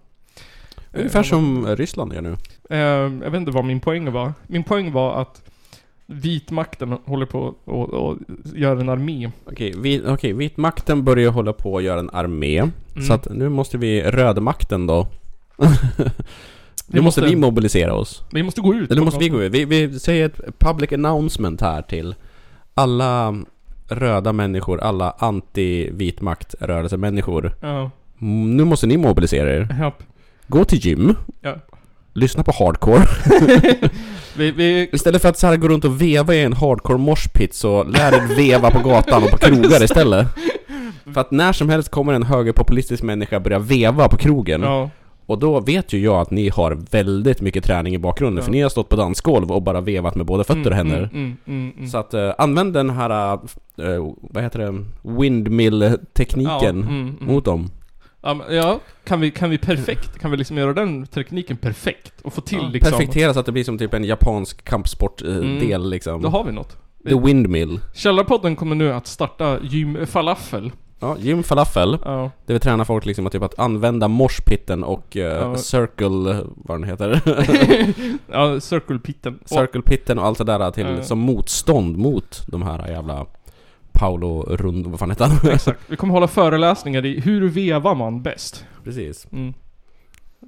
Speaker 2: Ungefär
Speaker 1: Eh,
Speaker 2: som Ryssland gör nu.
Speaker 1: Eh, jag vet inte vad min poäng var. Min poäng var att vitmakten håller på och, och gör en armé.
Speaker 2: Okej, vi, okej, vitmakten börjar ju hålla på att göra en armé.
Speaker 1: Mm.
Speaker 2: Så att nu måste vi rödmakten då. nu måste
Speaker 1: måste-
Speaker 2: vi mobilisera oss.
Speaker 1: Vi måste gå ut.
Speaker 2: Eller nu
Speaker 1: på
Speaker 2: måste vi
Speaker 1: gatan.
Speaker 2: gå ut. Vi, vi säger ett public announcement här till alla röda människor, alla anti-vitmakt-rörelsemänniskor.
Speaker 1: Ja,
Speaker 2: Mm, Nu måste ni mobilisera er.
Speaker 1: japp.
Speaker 2: Gå till gym.
Speaker 1: Ja.
Speaker 2: Lyssna på hardcore.
Speaker 1: Vi, vi,
Speaker 2: Istället för att så här gå runt och veva i en hardcore moshpit så lär dig veva på gatan och på krogar istället. För att när som helst kommer en högerpopulistisk människa börja veva på krogen.
Speaker 1: ja,
Speaker 2: Och då vet ju jag att ni har väldigt mycket träning i bakgrunden. För
Speaker 1: Ja.
Speaker 2: ni har stått på dansgolv och bara vevat med båda fötter och händer.
Speaker 1: Mm, mm, mm, mm.
Speaker 2: Så att eh, använd den här, eh, f- eh, vad heter det, windmill-tekniken
Speaker 1: Ja, mm, mm.
Speaker 2: mot dem.
Speaker 1: Ja, men, ja, kan vi, kan vi perfekt, kan vi liksom göra den tekniken perfekt? Och få till liksom...
Speaker 2: Perfektera så att det blir som typ en japansk kampsportdel
Speaker 1: Mm.
Speaker 2: del liksom.
Speaker 1: Då har vi något.
Speaker 2: The windmill.
Speaker 1: Källarpodden kommer nu att starta gym falafel.
Speaker 2: Ja, Jim Falafel.
Speaker 1: Ja.
Speaker 2: Där vi tränar folk liksom att, typ att använda moshpitten och eh,
Speaker 1: Ja.
Speaker 2: circle... Vad den heter?
Speaker 1: ja, circle pitten. Och-
Speaker 2: circle pitten och allt det där till,
Speaker 1: Ja.
Speaker 2: som motstånd mot de här jävla Paolo Rund... Vad fan heter han?
Speaker 1: Exakt. Vi kommer hålla föreläsningar i hur vevar man bäst.
Speaker 2: Precis.
Speaker 1: Mm.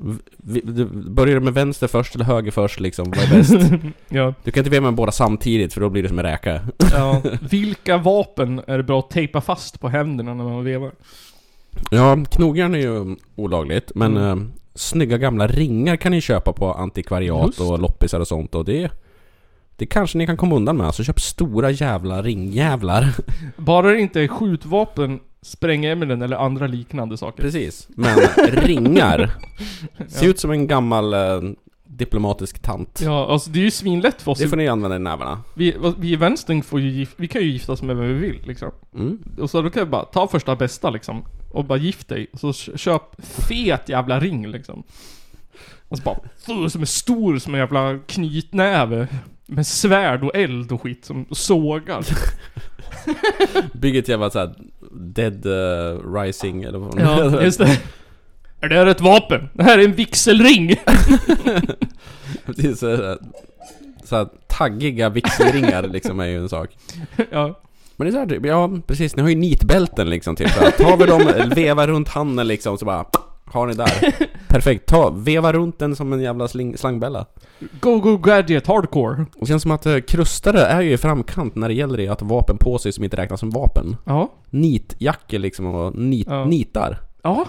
Speaker 2: V- vi- du- Börjar du med vänster först eller höger först liksom? Vad är bäst?
Speaker 1: Ja.
Speaker 2: Du kan inte veva med båda samtidigt för då blir det som en räka.
Speaker 1: ja. Vilka vapen är det bra att tejpa fast på händerna när man vevar?
Speaker 2: Ja, knogjärn är ju olagligt, men
Speaker 1: Mm.
Speaker 2: eh, snygga gamla ringar kan ni köpa på antikvariat
Speaker 1: Just.
Speaker 2: och loppisar och sånt och det... Det kanske ni kan komma undan med, alltså köp stora jävla ringjävlar.
Speaker 1: Bara det inte är skjutvapen, sprängämnen eller andra liknande saker.
Speaker 2: Precis. Men ringar, ser ut som en gammal eh, diplomatisk tant.
Speaker 1: Ja, alltså det är ju svinlätt för oss.
Speaker 2: Det får ni använda i nävarna.
Speaker 1: Vi, vi i vänstern får ju gif- vi kan ju gifta oss med vem vi vill liksom.
Speaker 2: Mm.
Speaker 1: Och så då kan vi bara ta första bästa liksom. Och bara gift dig. Och så kö- köp fet jävla ring liksom. Och så bara, "Fuh", som är stor som en jävla knytnäve. Med svärd och eld och skit som sågar.
Speaker 2: Bygg ett jävla såhär Dead eh, Rising eller vad
Speaker 1: Ja, just det. Är det här ett vapen? Det här är en vigselring!
Speaker 2: Precis, så här- så här taggiga vigselringar liksom är ju en sak.
Speaker 1: ja.
Speaker 2: Men det är så här, typ, ja precis, ni har ju nitbälten liksom typ. Så här, tar vi dem, vevar runt handen liksom så bara har ni där. Perfekt, ta, veva runt den som en jävla sling, slangbälla.
Speaker 1: Go, go, gadget, hardcore.
Speaker 2: Och känns som att eh, krustare är ju i framkant när det gäller det att ha vapen på sig som inte räknas som vapen.
Speaker 1: Ja.
Speaker 2: Nitjackor liksom och nit,
Speaker 1: Ja.
Speaker 2: nitar.
Speaker 1: Ja.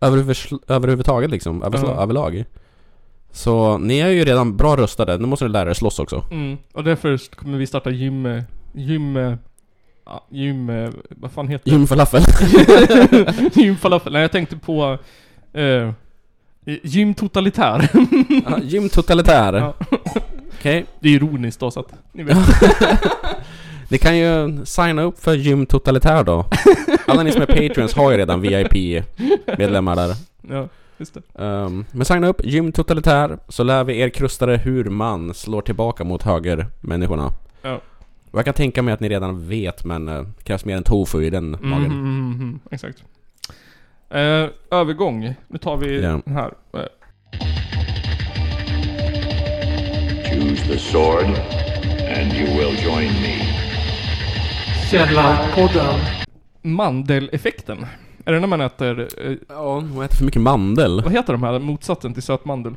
Speaker 2: Överhuvud, överhuvudtaget liksom, över,
Speaker 1: Ja.
Speaker 2: överlag. Så ni är ju redan bra rustade, nu måste ni lära er slåss också.
Speaker 1: Mm. Och därför kommer vi starta gym... eh, Gym... eh, ja, Gym... eh, Vad fan heter det?
Speaker 2: Jim Falafel.
Speaker 1: Gym falafel. Nej, jag tänkte på... Uh, gym totalitär.
Speaker 2: Ja, Jim Totalitär.
Speaker 1: Ja.
Speaker 2: Okej.
Speaker 1: Det är ironiskt då så att ni vet.
Speaker 2: Ni kan ju signa upp för Gym Totalitär då. Alla ni som är patreons har ju redan VIP-medlemmar där.
Speaker 1: Ja, just det.
Speaker 2: Ehm, men signa upp Gym Totalitär så lär vi er krustare hur man slår tillbaka mot högermänniskorna.
Speaker 1: Ja.
Speaker 2: Och jag kan tänka mig att ni redan vet men eh, det krävs mer än tofu i den
Speaker 1: Mm,
Speaker 2: magen.
Speaker 1: mm, mm, mm, exakt. Eh, övergång. Nu tar vi
Speaker 2: Ja.
Speaker 1: den här. Eh,
Speaker 3: Choose the sword, and you will join me.
Speaker 7: Källarpodden.
Speaker 1: mandeleffekten. Är det när man äter... eh,
Speaker 2: Ja, hon äter för mycket mandel.
Speaker 1: vad heter de här? Motsatsen till sötmandel.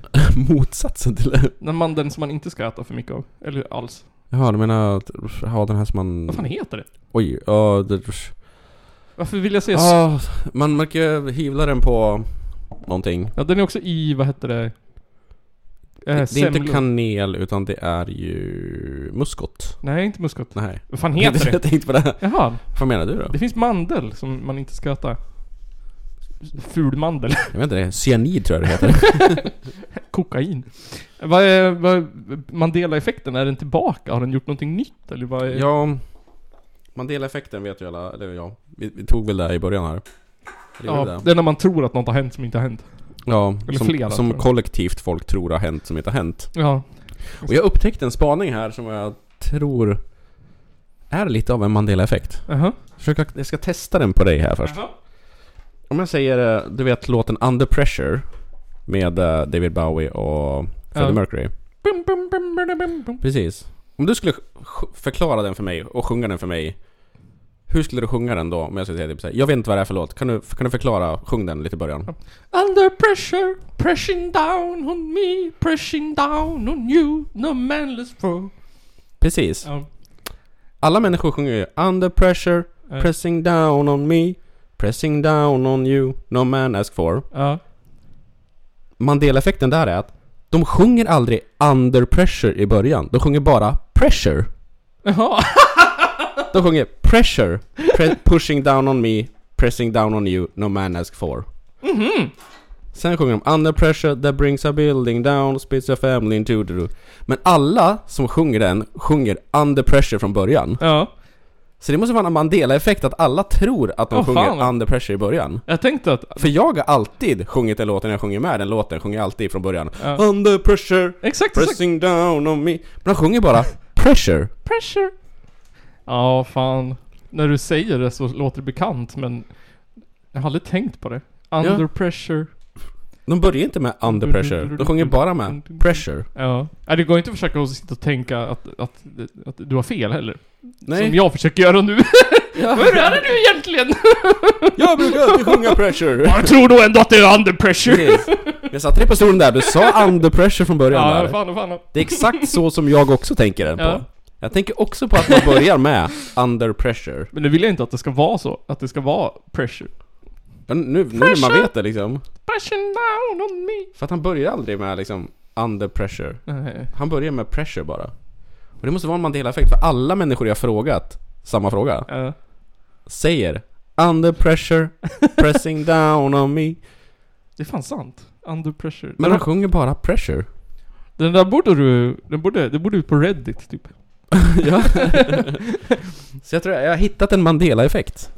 Speaker 2: Motsatsen till...
Speaker 1: Den mandeln som man inte ska äta för mycket av. Eller alls.
Speaker 2: Jaha, du menar att ha den här som man...
Speaker 1: Vad fan heter det?
Speaker 2: Oj, ja... det...
Speaker 1: Varför vill jag säga s-
Speaker 2: Ah, man märker ju hyvla den på någonting.
Speaker 1: Ja, den är också i, vad heter det? Eh,
Speaker 2: Det, det är inte
Speaker 1: semlor.
Speaker 2: kanel utan det är ju muskot.
Speaker 1: Nej, inte muskot.
Speaker 2: Nej.
Speaker 1: Vad fan heter det?
Speaker 2: Jag tänkte på det. här.
Speaker 1: Jaha,
Speaker 2: Vad menar du då?
Speaker 1: det finns mandel som man inte ska äta. Fulmandel.
Speaker 2: Jag vet inte, det är cyanid tror jag det heter.
Speaker 1: Kokain. Vad är, vad Mandela-effekten? Är den tillbaka? Har den gjort någonting nytt? Eller vad är...
Speaker 2: ja, Mandela-effekten vet ju alla, eller ja, vi, vi tog väl det här i början här. Det gjorde
Speaker 1: ja,
Speaker 2: vi
Speaker 1: det är när man tror att något har hänt som inte har hänt.
Speaker 2: ja
Speaker 1: eller
Speaker 2: som,
Speaker 1: flera, tror
Speaker 2: som
Speaker 1: jag.
Speaker 2: kollektivt folk tror har hänt som inte har hänt.
Speaker 1: Ja.
Speaker 2: Och jag upptäckte en spaning här som jag tror är lite av en Mandela-effekt.
Speaker 1: Jaha.
Speaker 2: Försök att- Jag ska testa den på dig här först.
Speaker 1: Jaha.
Speaker 2: Om jag säger, eh, du vet låten Under Pressure med eh, David Bowie och Freddie
Speaker 1: Ja.
Speaker 2: Mercury.
Speaker 1: Bum, bum, bum, bum, bum, bum.
Speaker 2: Precis. Om du skulle sj- förklara den för mig och sjunga den för mig. Hur skulle du sjunga den då? Om jag skulle säga typ så här, jag vet inte vad det är för låt. Kan du, kan du förklara? Sjung den lite i början.
Speaker 1: Under pressure, pressing down on me, pressing down on you, no manless foe.
Speaker 2: Precis.
Speaker 1: Ja.
Speaker 2: Alla människor sjunger ju Under Pressure,
Speaker 1: Ja.
Speaker 2: Pressing Down On Me, Pressing Down On You, No Man Ask For.
Speaker 1: Ja.
Speaker 2: Mandela-effekten där är att de sjunger aldrig Under Pressure i början. De sjunger bara Pressure.
Speaker 1: Jaha.
Speaker 2: De sjunger pressure, pre- pushing down on me, pressing down on you, no man ask for.
Speaker 1: Mm-hmm.
Speaker 2: Sen sjunger de under pressure that brings a building down, splits a family into the roof. Men alla som sjunger den sjunger under pressure från början.
Speaker 1: Ja.
Speaker 2: Så det måste vara en Mandela-effekt att alla tror att de
Speaker 1: Åh,
Speaker 2: sjunger
Speaker 1: fan.
Speaker 2: under pressure i början.
Speaker 1: Jag tänkte att...
Speaker 2: För jag har alltid sjungit den låten när jag sjunger med den låten, sjunger jag alltid från början.
Speaker 1: Ja.
Speaker 2: Under pressure,
Speaker 1: Exakt, exakt.
Speaker 2: pressing down on me. Men de sjunger bara pressure.
Speaker 1: Pressure. Ja, fan. när du säger det så låter det bekant men jag har aldrig tänkt på det. Under pressure.
Speaker 2: De börjar inte med under pressure, de sjunger bara med pressure.
Speaker 1: Ja. Nej, det går inte att försöka att sitta och tänka att, att, att du har fel heller. Som
Speaker 2: Nej,
Speaker 1: jag försöker göra nu. Hur är det nu egentligen?
Speaker 2: jag brukar alltid sjunga pressure!
Speaker 1: jag tror nog ändå att det är under pressure.
Speaker 2: Precis. Jag satte dig på stolen där, du sa under pressure från början
Speaker 1: Ja,
Speaker 2: där.
Speaker 1: fan, fan.
Speaker 2: Det är exakt så som jag också tänker den på.
Speaker 1: Ja.
Speaker 2: Jag tänker också på att man börjar med under pressure.
Speaker 1: Men nu vill jag inte att det ska vara så. Att det ska vara pressure.
Speaker 2: Ja, Nu, nu när man
Speaker 1: Pressure.
Speaker 2: vet det liksom.
Speaker 1: Pressure down on me.
Speaker 2: För att han börjar aldrig med liksom under pressure.
Speaker 1: Nej.
Speaker 2: Han börjar med pressure bara. Och det måste vara en Mandela-effekt, för alla människor jag frågat samma fråga
Speaker 1: Ja.
Speaker 2: säger Under pressure, pressing down on me.
Speaker 1: det är fan sant. Under pressure.
Speaker 2: Men han sjunger bara pressure.
Speaker 1: Den där borde du... Den borde... Det borde ut på Reddit typ.
Speaker 2: Ja. Så jag tror jag, jag har hittat en Mandela-effekt.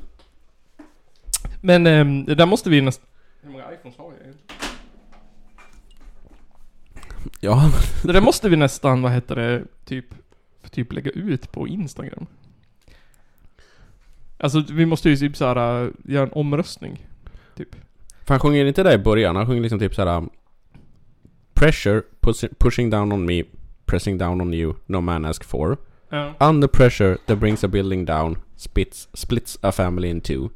Speaker 1: Men ehm, det där måste vi nästan... Hur många iPhones har jag
Speaker 2: Ja,
Speaker 1: Det där måste vi nästan, vad heter det, typ... Typ lägga ut på Instagram. Alltså vi måste ju typ såhär äh, göra en omröstning. Typ.
Speaker 2: för han sjunger inte där i början, han sjunger liksom typ såhär Pressure, push, pushing down on me, pressing down on you, no man ask for.
Speaker 1: Ja.
Speaker 2: Under pressure that brings a building down splits, splits a family in two.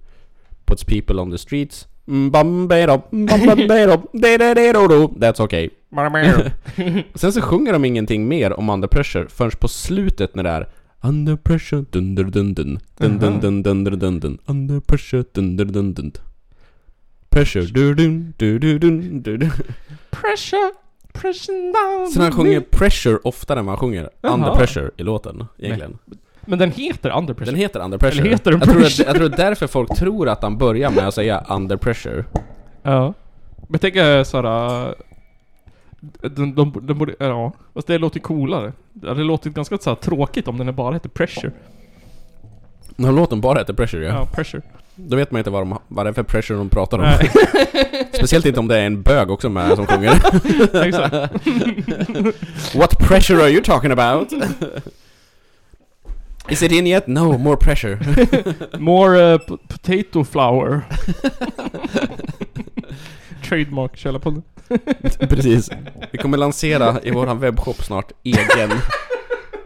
Speaker 2: Puts people on the streets. Mm, Mbambero, mbambero, dededero, That's okay. Sen så sjunger de ingenting mer om under pressure förrän på slutet när det är Under pressure, dun dun dun dun dun dun dun dun dun dun dun Under pressure, dun dun dun dun Pressure, du dun du du dun du dun
Speaker 1: Pressure! Pressure down!
Speaker 2: Sen han sjunger pressure oftare än vad han sjunger under
Speaker 1: Jaha.
Speaker 2: pressure i låten egentligen
Speaker 1: Men den heter Under pressure.
Speaker 2: Den heter Under Pressure.
Speaker 1: Eller heter den
Speaker 2: jag, tror att,
Speaker 1: Pressure?
Speaker 2: jag tror det är därför folk tror att han börjar med att säga Under Pressure.
Speaker 1: Ja. Men tänk eh, såhär... äh, De, de, de borde, ja, fast det låter coolare. Det hade låtit ganska såhär tråkigt om den bara hette Pressure.
Speaker 2: Den här låten bara heter Pressure ja.
Speaker 1: Ja, Pressure.
Speaker 2: Då vet man inte vad, de, vad det är för pressure de pratar om.
Speaker 1: Nej,
Speaker 2: Speciellt inte om det är en bög också med som sjunger.
Speaker 1: exakt.
Speaker 2: What pressure are you talking about? Is it in yet? No, more pressure.
Speaker 1: More eh, po- potato flour. Trademark källarpodden.
Speaker 2: Precis. Vi kommer lansera i våran webbshop snart egen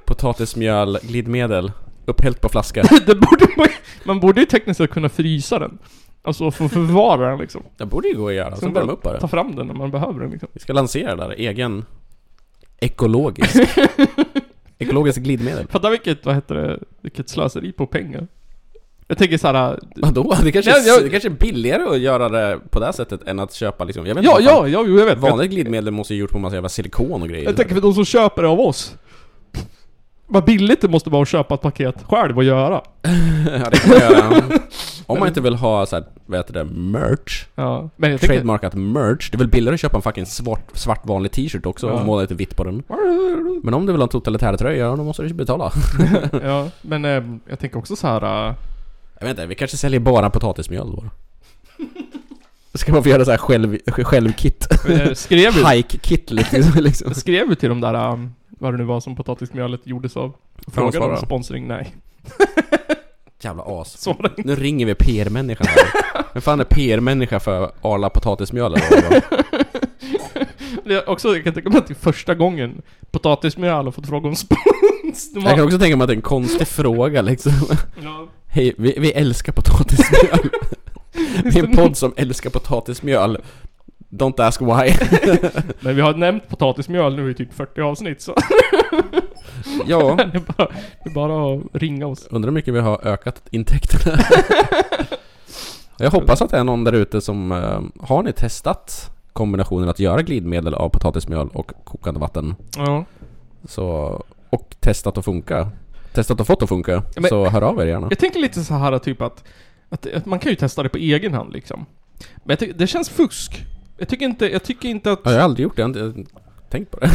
Speaker 2: potatismjöl glidmedel. Upphällt på flaska.
Speaker 1: Det borde man, man borde ju tekniskt sett kunna frysa den. Alltså få förvara den liksom.
Speaker 2: Det borde ju gå att göra, så värma upp bara.
Speaker 1: Ta fram den när man behöver den liksom.
Speaker 2: Vi ska lansera där, egen ekologisk ekologisk glidmedel.
Speaker 1: Fatta vilket, vad heter det, vilket slöseri på pengar. Jag tänker äh, såhär...
Speaker 2: Vadå? Det kanske,
Speaker 1: Nej, jag-
Speaker 2: det kanske är billigare att göra det på det här sättet än att köpa liksom, jag vet
Speaker 1: Ja,
Speaker 2: inte vad
Speaker 1: ja, ja, jo, jag vet.
Speaker 2: fan. Vanligt glidmedel måste ju gjort på massa jävla silikon och grejer.
Speaker 1: Jag tänker för de som köper det av oss. Vad billigt det måste vara att köpa ett paket själv och göra.
Speaker 2: ja, det kan man göra. Om man inte vill ha så här, vad heter det, merch.
Speaker 1: Ja. Men jag tänker...
Speaker 2: Trademarkat merch. Det är väl billigare att köpa en fucking svart, svart vanlig t-shirt också och
Speaker 1: Ja.
Speaker 2: måla lite vitt på den. Men om du vill ha en totalitärtröja, ja, då måste du betala.
Speaker 1: Ja, men ehm, jag tänker också så här. eh,
Speaker 2: Jag vet inte, vi kanske säljer bara potatismjöl då. Ska man få göra så här själv, självkit?
Speaker 1: eh, skrev ju,
Speaker 2: Hike-kit liksom. liksom.
Speaker 1: skrev ju till de där, ehm, vad det nu var som potatismjölet gjordes av. Frågade
Speaker 2: svarade
Speaker 1: om
Speaker 2: de?
Speaker 1: sponsring? Nej.
Speaker 2: Jävla as.
Speaker 1: Svarade
Speaker 2: Nu ringer vi PR-människan här. Vem fan är PR-människa för Arla potatismjöl eller vad?
Speaker 1: Det är också, jag kan tänka mig att det är första gången potatismjöl har fått fråga om spons. De
Speaker 2: Jag kan
Speaker 1: har,
Speaker 2: också tänka mig att det är en konstig fråga liksom.
Speaker 1: ja,
Speaker 2: Hej, vi, vi älskar potatismjöl. Vi är en podd som älskar potatismjöl. Don't ask why.
Speaker 1: men vi har nämnt potatismjöl nu i typ 40 avsnitt så
Speaker 2: Ja,
Speaker 1: det är bara, det är bara att ringa oss.
Speaker 2: undrar hur mycket vi har ökat intäkterna. Jag hoppas att det är någon där ute som... eh, Har ni testat kombinationen att göra glidmedel av potatismjöl och kokande vatten?
Speaker 1: Ja.
Speaker 2: Så, och testat att funka. Testat och fått att funka.
Speaker 1: Ja, men-
Speaker 2: så hör av er gärna.
Speaker 1: Jag tänker lite så här typ att, att, att man kan ju testa det på egen hand liksom. Men jag tycker- det känns fusk. Jag tycker inte, jag tycker inte att...
Speaker 2: Ja, jag har aldrig gjort det. Jag har inte tänkt på det.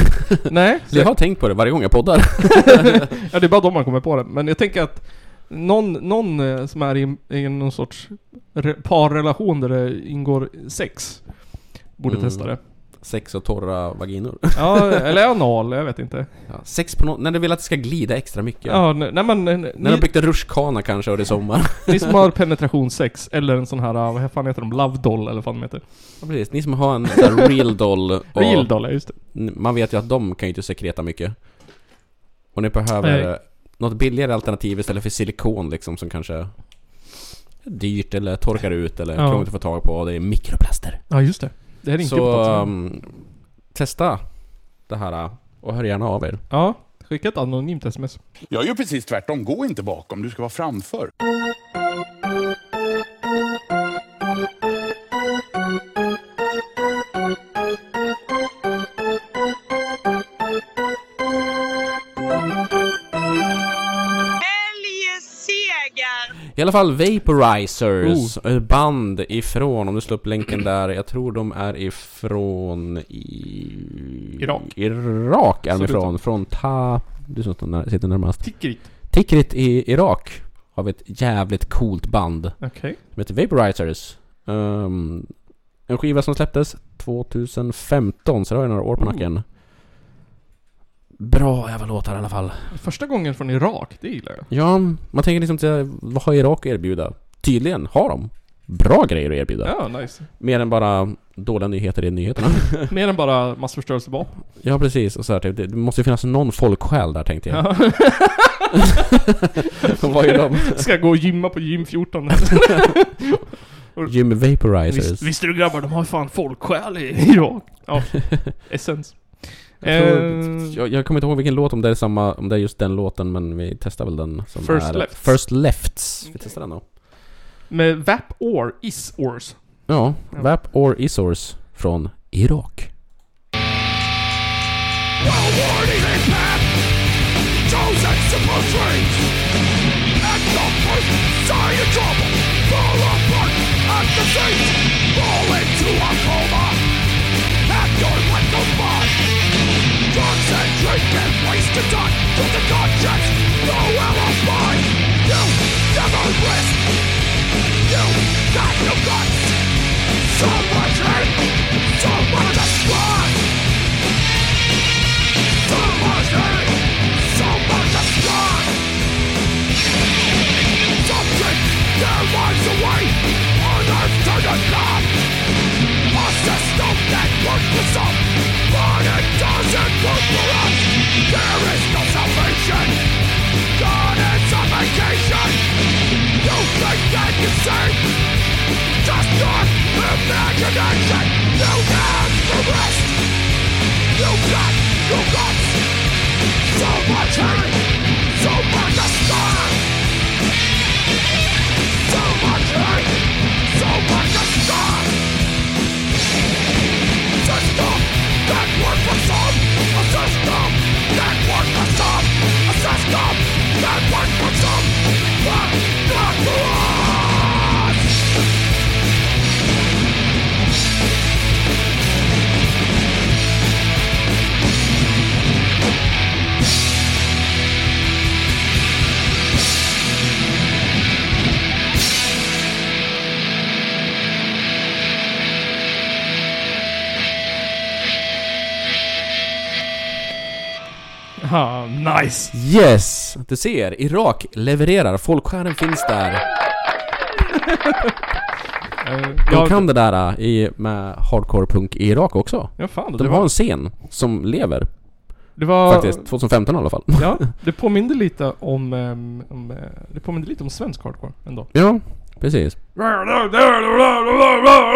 Speaker 1: Nej.
Speaker 2: Så jag har tänkt på det varje gång jag poddar.
Speaker 1: Ja, det är bara då man kommer på det. Men jag tänker att någon, någon eh, som är i, en- i någon sorts re, parrelation där det ingår sex borde
Speaker 2: Mm.
Speaker 1: testa det.
Speaker 2: Sex och torra vaginor.
Speaker 1: Ja, eller anal, jag vet inte.
Speaker 2: Ja, sex på no- När du vill att det ska glida extra mycket.
Speaker 1: Ja, ne- nej men... eh, Ni,
Speaker 2: När de byggt en rutschkana kanske och det är sommar.
Speaker 1: ni som har penetrationssex, eller en sån här, eh, vad fan heter de? Love doll, eller vad fan de heter.
Speaker 2: Ja, precis. Ni som har en sån här real doll. Och
Speaker 1: Real doll, ja just det.
Speaker 2: n- Man vet ju att de kan ju inte sekreta mycket. Och ni behöver
Speaker 1: Nej.
Speaker 2: eh, något billigare alternativ istället för silikon liksom som kanske är dyrt eller torkar ut eller
Speaker 1: Ja.
Speaker 2: krångligt att få tag på. Och det är mikroplaster.
Speaker 1: Ja, just det. Det här är inte
Speaker 2: Så
Speaker 1: uppåt.
Speaker 2: ehm, testa det här eh, och hör gärna av er.
Speaker 1: Ja, skicka ett anonymt sms.
Speaker 7: Jag gör precis tvärtom. Gå inte bakom, du ska vara framför.
Speaker 2: I alla fall Vaporizers,
Speaker 1: Oh.
Speaker 2: ett band ifrån, om du slår upp länken där, jag tror de är ifrån i...
Speaker 1: Irak.
Speaker 2: Irak är
Speaker 1: Ser
Speaker 2: de
Speaker 1: ut
Speaker 2: ifrån, från Ta... Du som står när- sitter närmast.
Speaker 1: Tickrit.
Speaker 2: Tikrit i Irak har vi ett jävligt coolt band
Speaker 1: Okej.
Speaker 2: som heter Vaporizers. Ehm, en skiva som släpptes 2015, så det har ju några år på
Speaker 1: Oh.
Speaker 2: nacken. Bra jävla låtar i alla fall.
Speaker 1: Första gången från Irak, det gillar jag.
Speaker 2: Ja, man tänker liksom till, vad har Irak att erbjuda? Tydligen har de bra grejer att erbjuda.
Speaker 1: Ja, nice.
Speaker 2: Mer än bara dåliga nyheter i nyheterna.
Speaker 1: Mer än bara massförstörelsevapen.
Speaker 2: ja, precis. Och så här, typ, det det måste ju finnas någon folksjäl där tänkte jag. Och vad gör de?
Speaker 1: Ska gå och gymma på gym 14.
Speaker 2: Jim Vaporizers.
Speaker 1: Visst, visste du grabbar, de har fan folksjäl i Irak. Ja, essens.
Speaker 2: Jag, tror,
Speaker 1: Eh.
Speaker 2: jag, jag kommer inte ihåg vilken låt, om det är samma, om det är just den låten, men vi testar väl den som
Speaker 1: First
Speaker 2: är...
Speaker 1: Lefts.
Speaker 2: First Lefts. Vi testar den då.
Speaker 1: Med VAP or is ors.
Speaker 2: Ja,
Speaker 1: Ja.
Speaker 2: Vap or Isors från Irak.
Speaker 1: Ha, nice!
Speaker 2: Yes! Du ser, Irak levererar. Folksjälen finns där.
Speaker 1: Uh,
Speaker 2: De kan det där äh, i, med hardcore punk i Irak också.
Speaker 1: Ja, fan. Det
Speaker 2: De har
Speaker 1: var...
Speaker 2: en scen som lever,
Speaker 1: Det var
Speaker 2: faktiskt. 2015 i alla fall.
Speaker 1: Ja, det påminner lite om... ehm, om eh, det påminner lite om svensk hardcore ändå.
Speaker 2: Ja, precis.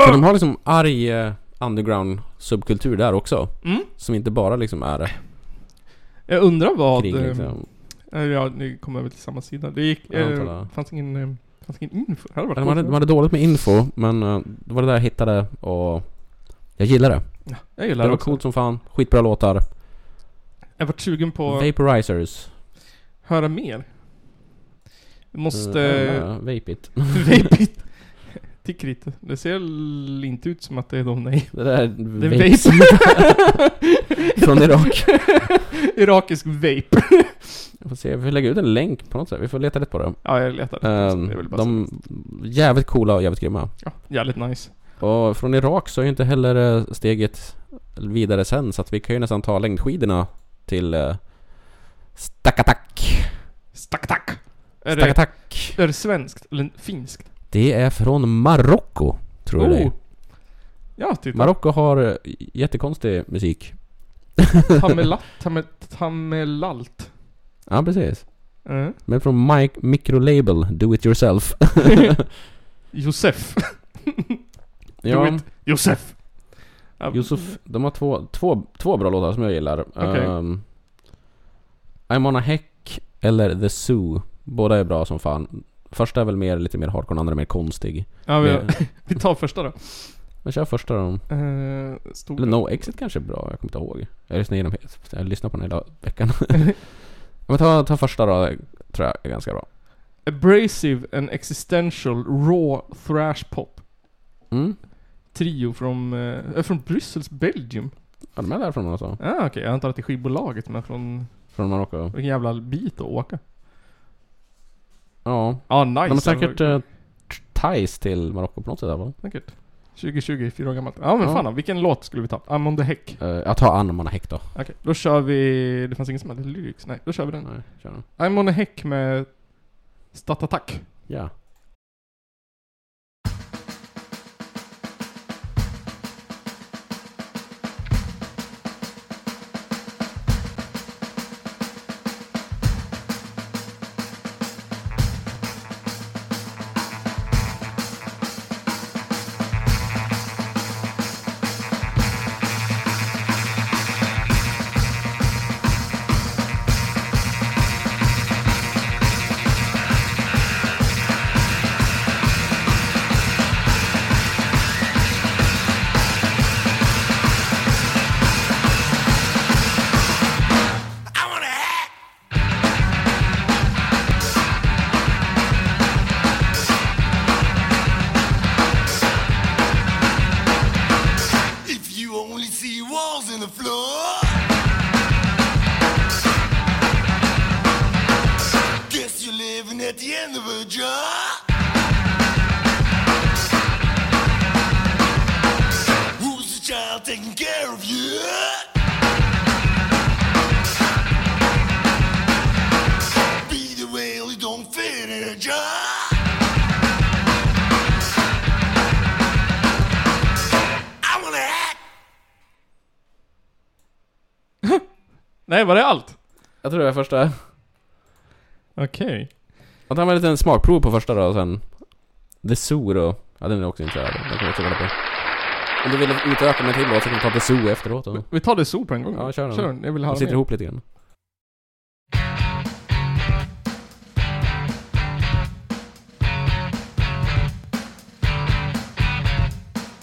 Speaker 2: För de har liksom arg eh, underground subkultur där också.
Speaker 1: Mm.
Speaker 2: Som inte bara liksom är
Speaker 1: Jag undrar vad...
Speaker 2: kring
Speaker 1: ehm,
Speaker 2: liksom.
Speaker 1: eh, ja, ni kommer väl till samma sida. Det gick...
Speaker 2: Jag antar
Speaker 1: Uh,
Speaker 2: det.
Speaker 1: fanns ingen... eh, fanns ingen info. Det hade varit
Speaker 2: De hade,
Speaker 1: coolt.
Speaker 2: de hade dåligt med info, men eh, det var det där jag hittade och jag gillar det.
Speaker 1: Jag
Speaker 2: Det
Speaker 1: gillar det
Speaker 2: var
Speaker 1: också.
Speaker 2: coolt som fan, skitbra låtar.
Speaker 1: Jag har varit sugen på att
Speaker 2: Vaporizers.
Speaker 1: höra mer. Jag måste...
Speaker 2: Eh,
Speaker 1: Uh,
Speaker 2: eh, Vape it.
Speaker 1: Vapit. Tycker inte. Det ser l- inte ut som att det är de, nej.
Speaker 2: Det där är
Speaker 1: Det är
Speaker 2: vape
Speaker 1: vape.
Speaker 2: från Irak.
Speaker 1: Irakisk vape.
Speaker 2: Jag får se, vi får lägga ut en länk på något sätt. Vi får leta rätt på det.
Speaker 1: Ja, jag letar.
Speaker 2: Eh,
Speaker 1: det är väl bara
Speaker 2: de jävligt coola och jävligt grymma.
Speaker 1: så. Ja, jävligt nice.
Speaker 2: Och från Irak så är ju inte heller eh, steget vidare sen så att vi kan ju nästan ta längdskidorna till eh, Stakatak.
Speaker 1: Stack, tack. Är det,
Speaker 2: Stakatak.
Speaker 1: är det svenskt eller finskt?
Speaker 2: Det är från Marocko, tror jag det är.
Speaker 1: Ja, Oh, typ. titta.
Speaker 2: Marocko har eh, jättekonstig musik.
Speaker 1: Tamelat, tame, tamelalt.
Speaker 2: Ja, precis.
Speaker 1: Eh.
Speaker 2: Men från Mike Microlabel, Do It Yourself.
Speaker 1: Josef.
Speaker 2: ja,
Speaker 1: it. Josef. Ja,
Speaker 2: Yusuf, de har två, två, två bra låtar som jag gillar.
Speaker 1: Okej.
Speaker 2: Ehm, I'm on a heck eller The Zoo. Båda är bra som fan. Första är väl mer, lite mer hardcore, andra är mer konstig.
Speaker 1: Ja, vi,
Speaker 2: Men-
Speaker 1: vi tar första då.
Speaker 2: Men kör första då.
Speaker 1: Eh, stor.
Speaker 2: Eller No Exit kanske är bra, jag kommer inte ihåg. Jag lyssnar igenom jag lyssnar på den hela veckan. Men ta, ta första då, tror jag är ganska bra.
Speaker 1: Abrasive and existential raw thrash pop.
Speaker 2: Mm.
Speaker 1: Trio från, eh, från Bryssels Belgium.
Speaker 2: Ja, de är därifrån alltså.
Speaker 1: Ah, okej. Jag antar att det är skivbolaget men från
Speaker 2: Från Marocko.
Speaker 1: vilken jävla bit att åka.
Speaker 2: Ja.
Speaker 1: Ja, ah, nice.
Speaker 2: De har
Speaker 1: Det
Speaker 2: säkert
Speaker 1: var-
Speaker 2: eh, ties till Marocko på något sätt i alla fall.
Speaker 1: säkert. 2020, fyra år gammalt. Ja men
Speaker 2: Ja.
Speaker 1: fan vilken låt skulle vi ta? I'm on the heck.
Speaker 2: Eh, Jag tar an om man har häck då.
Speaker 1: Okej, då kör vi... Det fanns ingen som hade lyrics. Nej, då kör vi den.
Speaker 2: Nej, kör den.
Speaker 1: I'm on a heck med Statattack.
Speaker 2: Ja.
Speaker 8: If you only see walls and the floor, guess you're living at the end of a job. Who's the child taking care of you? Be the whale you don't fit in a job. I wanna act.
Speaker 1: Nej, var det allt?
Speaker 2: Jag tror det är första.
Speaker 1: Okej.
Speaker 2: Jag tar med en liten smakprov på första då och sen The Zoo då. Ja den är också inte här. Den kan vi också kolla på. Om du vill utöka med en till låt så kan vi ta The Zoo efteråt då.
Speaker 1: Vi tar det sol på en gång.
Speaker 2: Ja, kör den.
Speaker 1: Kör den. Jag vill
Speaker 2: De
Speaker 1: höra
Speaker 2: sitter
Speaker 1: mer.
Speaker 2: ihop lite grann.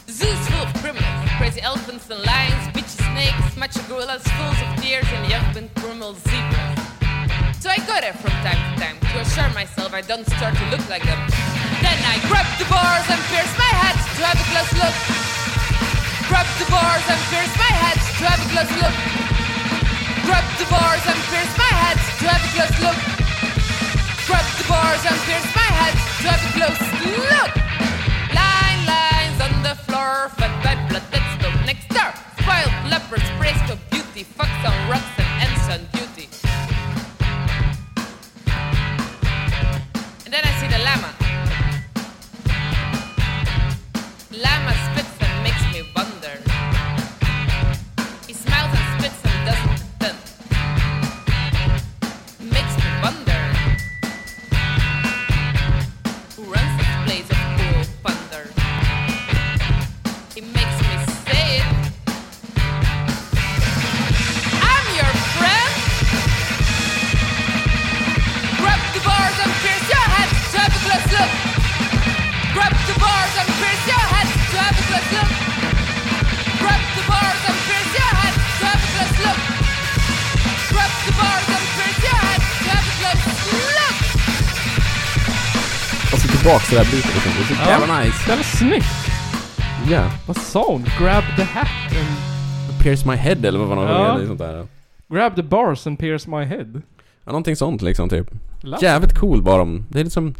Speaker 9: Zoos full of criminals, crazy elephants and lions, bitchy snakes, macho gorillas, fools of deers, and young and criminal zebras. So I go there from time to time to assure myself I don't start to look like them. Then I grab the bars and pierce my head to have a close look. Grab the bars and pierce my head to have a close look. Grab the bars and pierce my head to have a close look. Grab the bars and pierce my head to have a close look. Line lines on the floor, fed by blood that's built next door. Spoiled leopards praised for beauty, fucks on rocks and ants on duty. And then I see the llama. Llama spits and makes me wonder. He smiles and spits and doesn't pretend. Makes me wonder who runs this place of cruel thunder. It makes me sick. I'm your friend. Grab the bars and pierce your head to have a close look. Grab the bars and pierce your head to have a close look. Grab the bars and pierce your head to have a close look. Grab the bars and pierce your head to have a close look.
Speaker 2: Och så Alltså, tillbaks till det här beatet liksom. Det är så jävla nice.
Speaker 1: Jävla snyggt!
Speaker 2: Ja.
Speaker 1: Vad sa hon? Grab the hat and...
Speaker 2: Pierce my head eller vad man har
Speaker 1: Ja.
Speaker 2: ja. sånt där.
Speaker 1: Grab the bars and pierce my head.
Speaker 2: Ja, någonting sånt liksom typ.
Speaker 1: Lapp.
Speaker 2: Jävligt cool var de. Det är liksom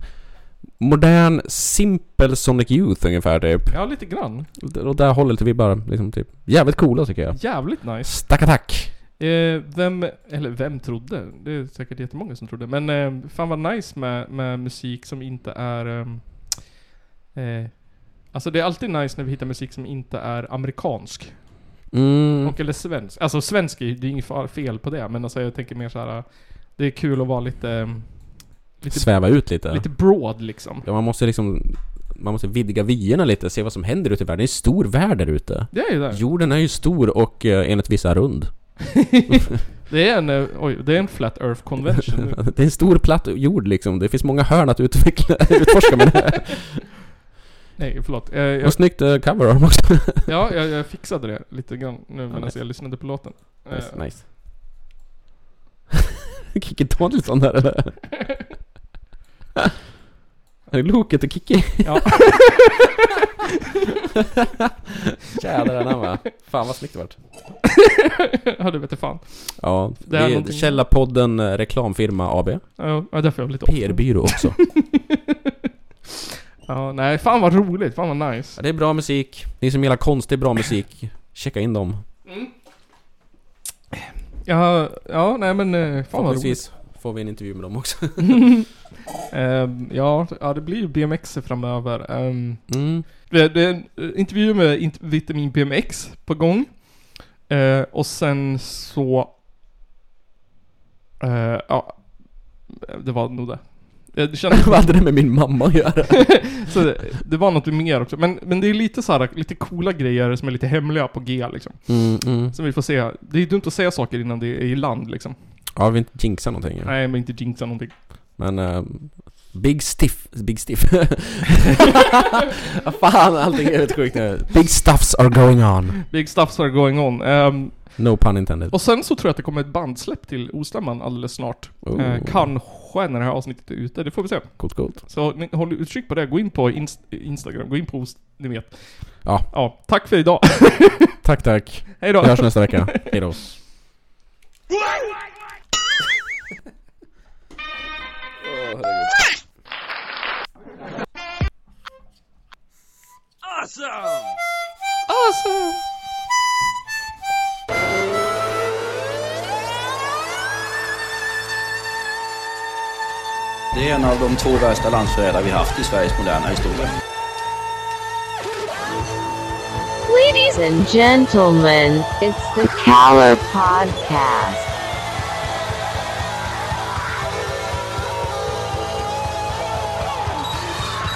Speaker 2: modern, simpel Sonic Youth ungefär typ.
Speaker 1: Ja, lite grann.
Speaker 2: Och där håller lite vibbar liksom typ. Jävligt coola tycker jag.
Speaker 1: Jävligt nice.
Speaker 2: Stack attack!
Speaker 1: Eh, vem, eller vem trodde? Det är säkert jättemånga som trodde. Men eh, fan vad nice med, med musik som inte är... ehm, eh, alltså det är alltid nice när vi hittar musik som inte är amerikansk.
Speaker 2: Mm.
Speaker 1: Och eller svensk. Alltså svensk, är ju- det är inget fa- fel på det. Men alltså jag tänker mer så här. Det är kul att vara lite... ehm, Lite,
Speaker 2: Sväva ut lite.
Speaker 1: lite broad liksom.
Speaker 2: Ja, man måste liksom... Man måste vidga vyerna lite, se vad som händer ute i världen. Det är en stor värld där ute.
Speaker 1: Det är ju det.
Speaker 2: Jorden är ju stor och eh, enligt vissa rund.
Speaker 1: Det är en, eh, oj, det är en flat earth convention nu.
Speaker 2: Det är en stor platt jord liksom. Det finns många hörn att utveckla, utforska med det här.
Speaker 1: Nej, förlåt. Eh, jag,
Speaker 2: Och snyggt eh, cover har de också.
Speaker 1: ja, jag, jag fixade det lite grann nu medan
Speaker 2: nice.
Speaker 1: jag lyssnade på låten. Eh,
Speaker 2: Nice, nice. Kikki Danielsson där eller? Är det Loket och Kikki?
Speaker 1: Ja.
Speaker 2: Jävlar anamma. Fan vad snyggt det vart.
Speaker 1: ja, det vete fan.
Speaker 2: Ja,
Speaker 1: Det
Speaker 2: det
Speaker 1: är
Speaker 2: är
Speaker 1: någonting-
Speaker 2: Källarpodden eh, Reklamfirma AB.
Speaker 1: Ja, ja, därför är jag lite off.
Speaker 2: PR-byrå också.
Speaker 1: Ja, nej, fan vad roligt. Fan vad nice.
Speaker 2: ja, det är bra musik. Ni som gillar konst, det är bra musik. Checka in dem.
Speaker 1: Ja, ja nej men eh, fan vad roligt.
Speaker 2: Förhoppningsvis får vi en intervju med dem också.
Speaker 1: Ehm, ja, ja, det blir ju BMX framöver. Ehm,
Speaker 2: Mm.
Speaker 1: det, det är en eh, intervju med int- Vitamin BMX på gång. Eh, och sen så... eh, ja, det var nog det. Eh, Det kändes
Speaker 2: Vad hade det med min mamma att göra?
Speaker 1: så det, det var något mer också. Men, men det är lite så här, lite coola grejer som är lite hemliga på G liksom.
Speaker 2: Mm, mm.
Speaker 1: Som vi får se. Det är dumt att säga saker innan det är i land liksom.
Speaker 2: Ja, vi vill inte jinxa någonting. ja.
Speaker 1: Nej, men inte jinxa någonting.
Speaker 2: Men... eh, Big Stiff... Big Stiff... Fan, allting är helt sjukt nu. Big stuffs are going on.
Speaker 1: Big stuffs are going on. Ehm,
Speaker 2: No pun intended.
Speaker 1: och sen så tror jag att det kommer ett bandsläpp till Ostämman alldeles snart.
Speaker 2: Oh.
Speaker 1: Eh, kanske när det här avsnittet är ute, det får vi se.
Speaker 2: Coolt, coolt.
Speaker 1: Så ni, håll utkik på det, gå in på inst- Instagram, gå in på Ost, ni vet.
Speaker 2: Ja.
Speaker 1: Ja, tack för idag.
Speaker 2: Tack, tack.
Speaker 1: Hej då.
Speaker 2: Vi hörs nästa vecka. Hejdå.
Speaker 10: Det är en av de två värsta landsförrädare vi haft i Sveriges moderna historia.
Speaker 5: Ladies and gentlemen, it's the Caller Podcast.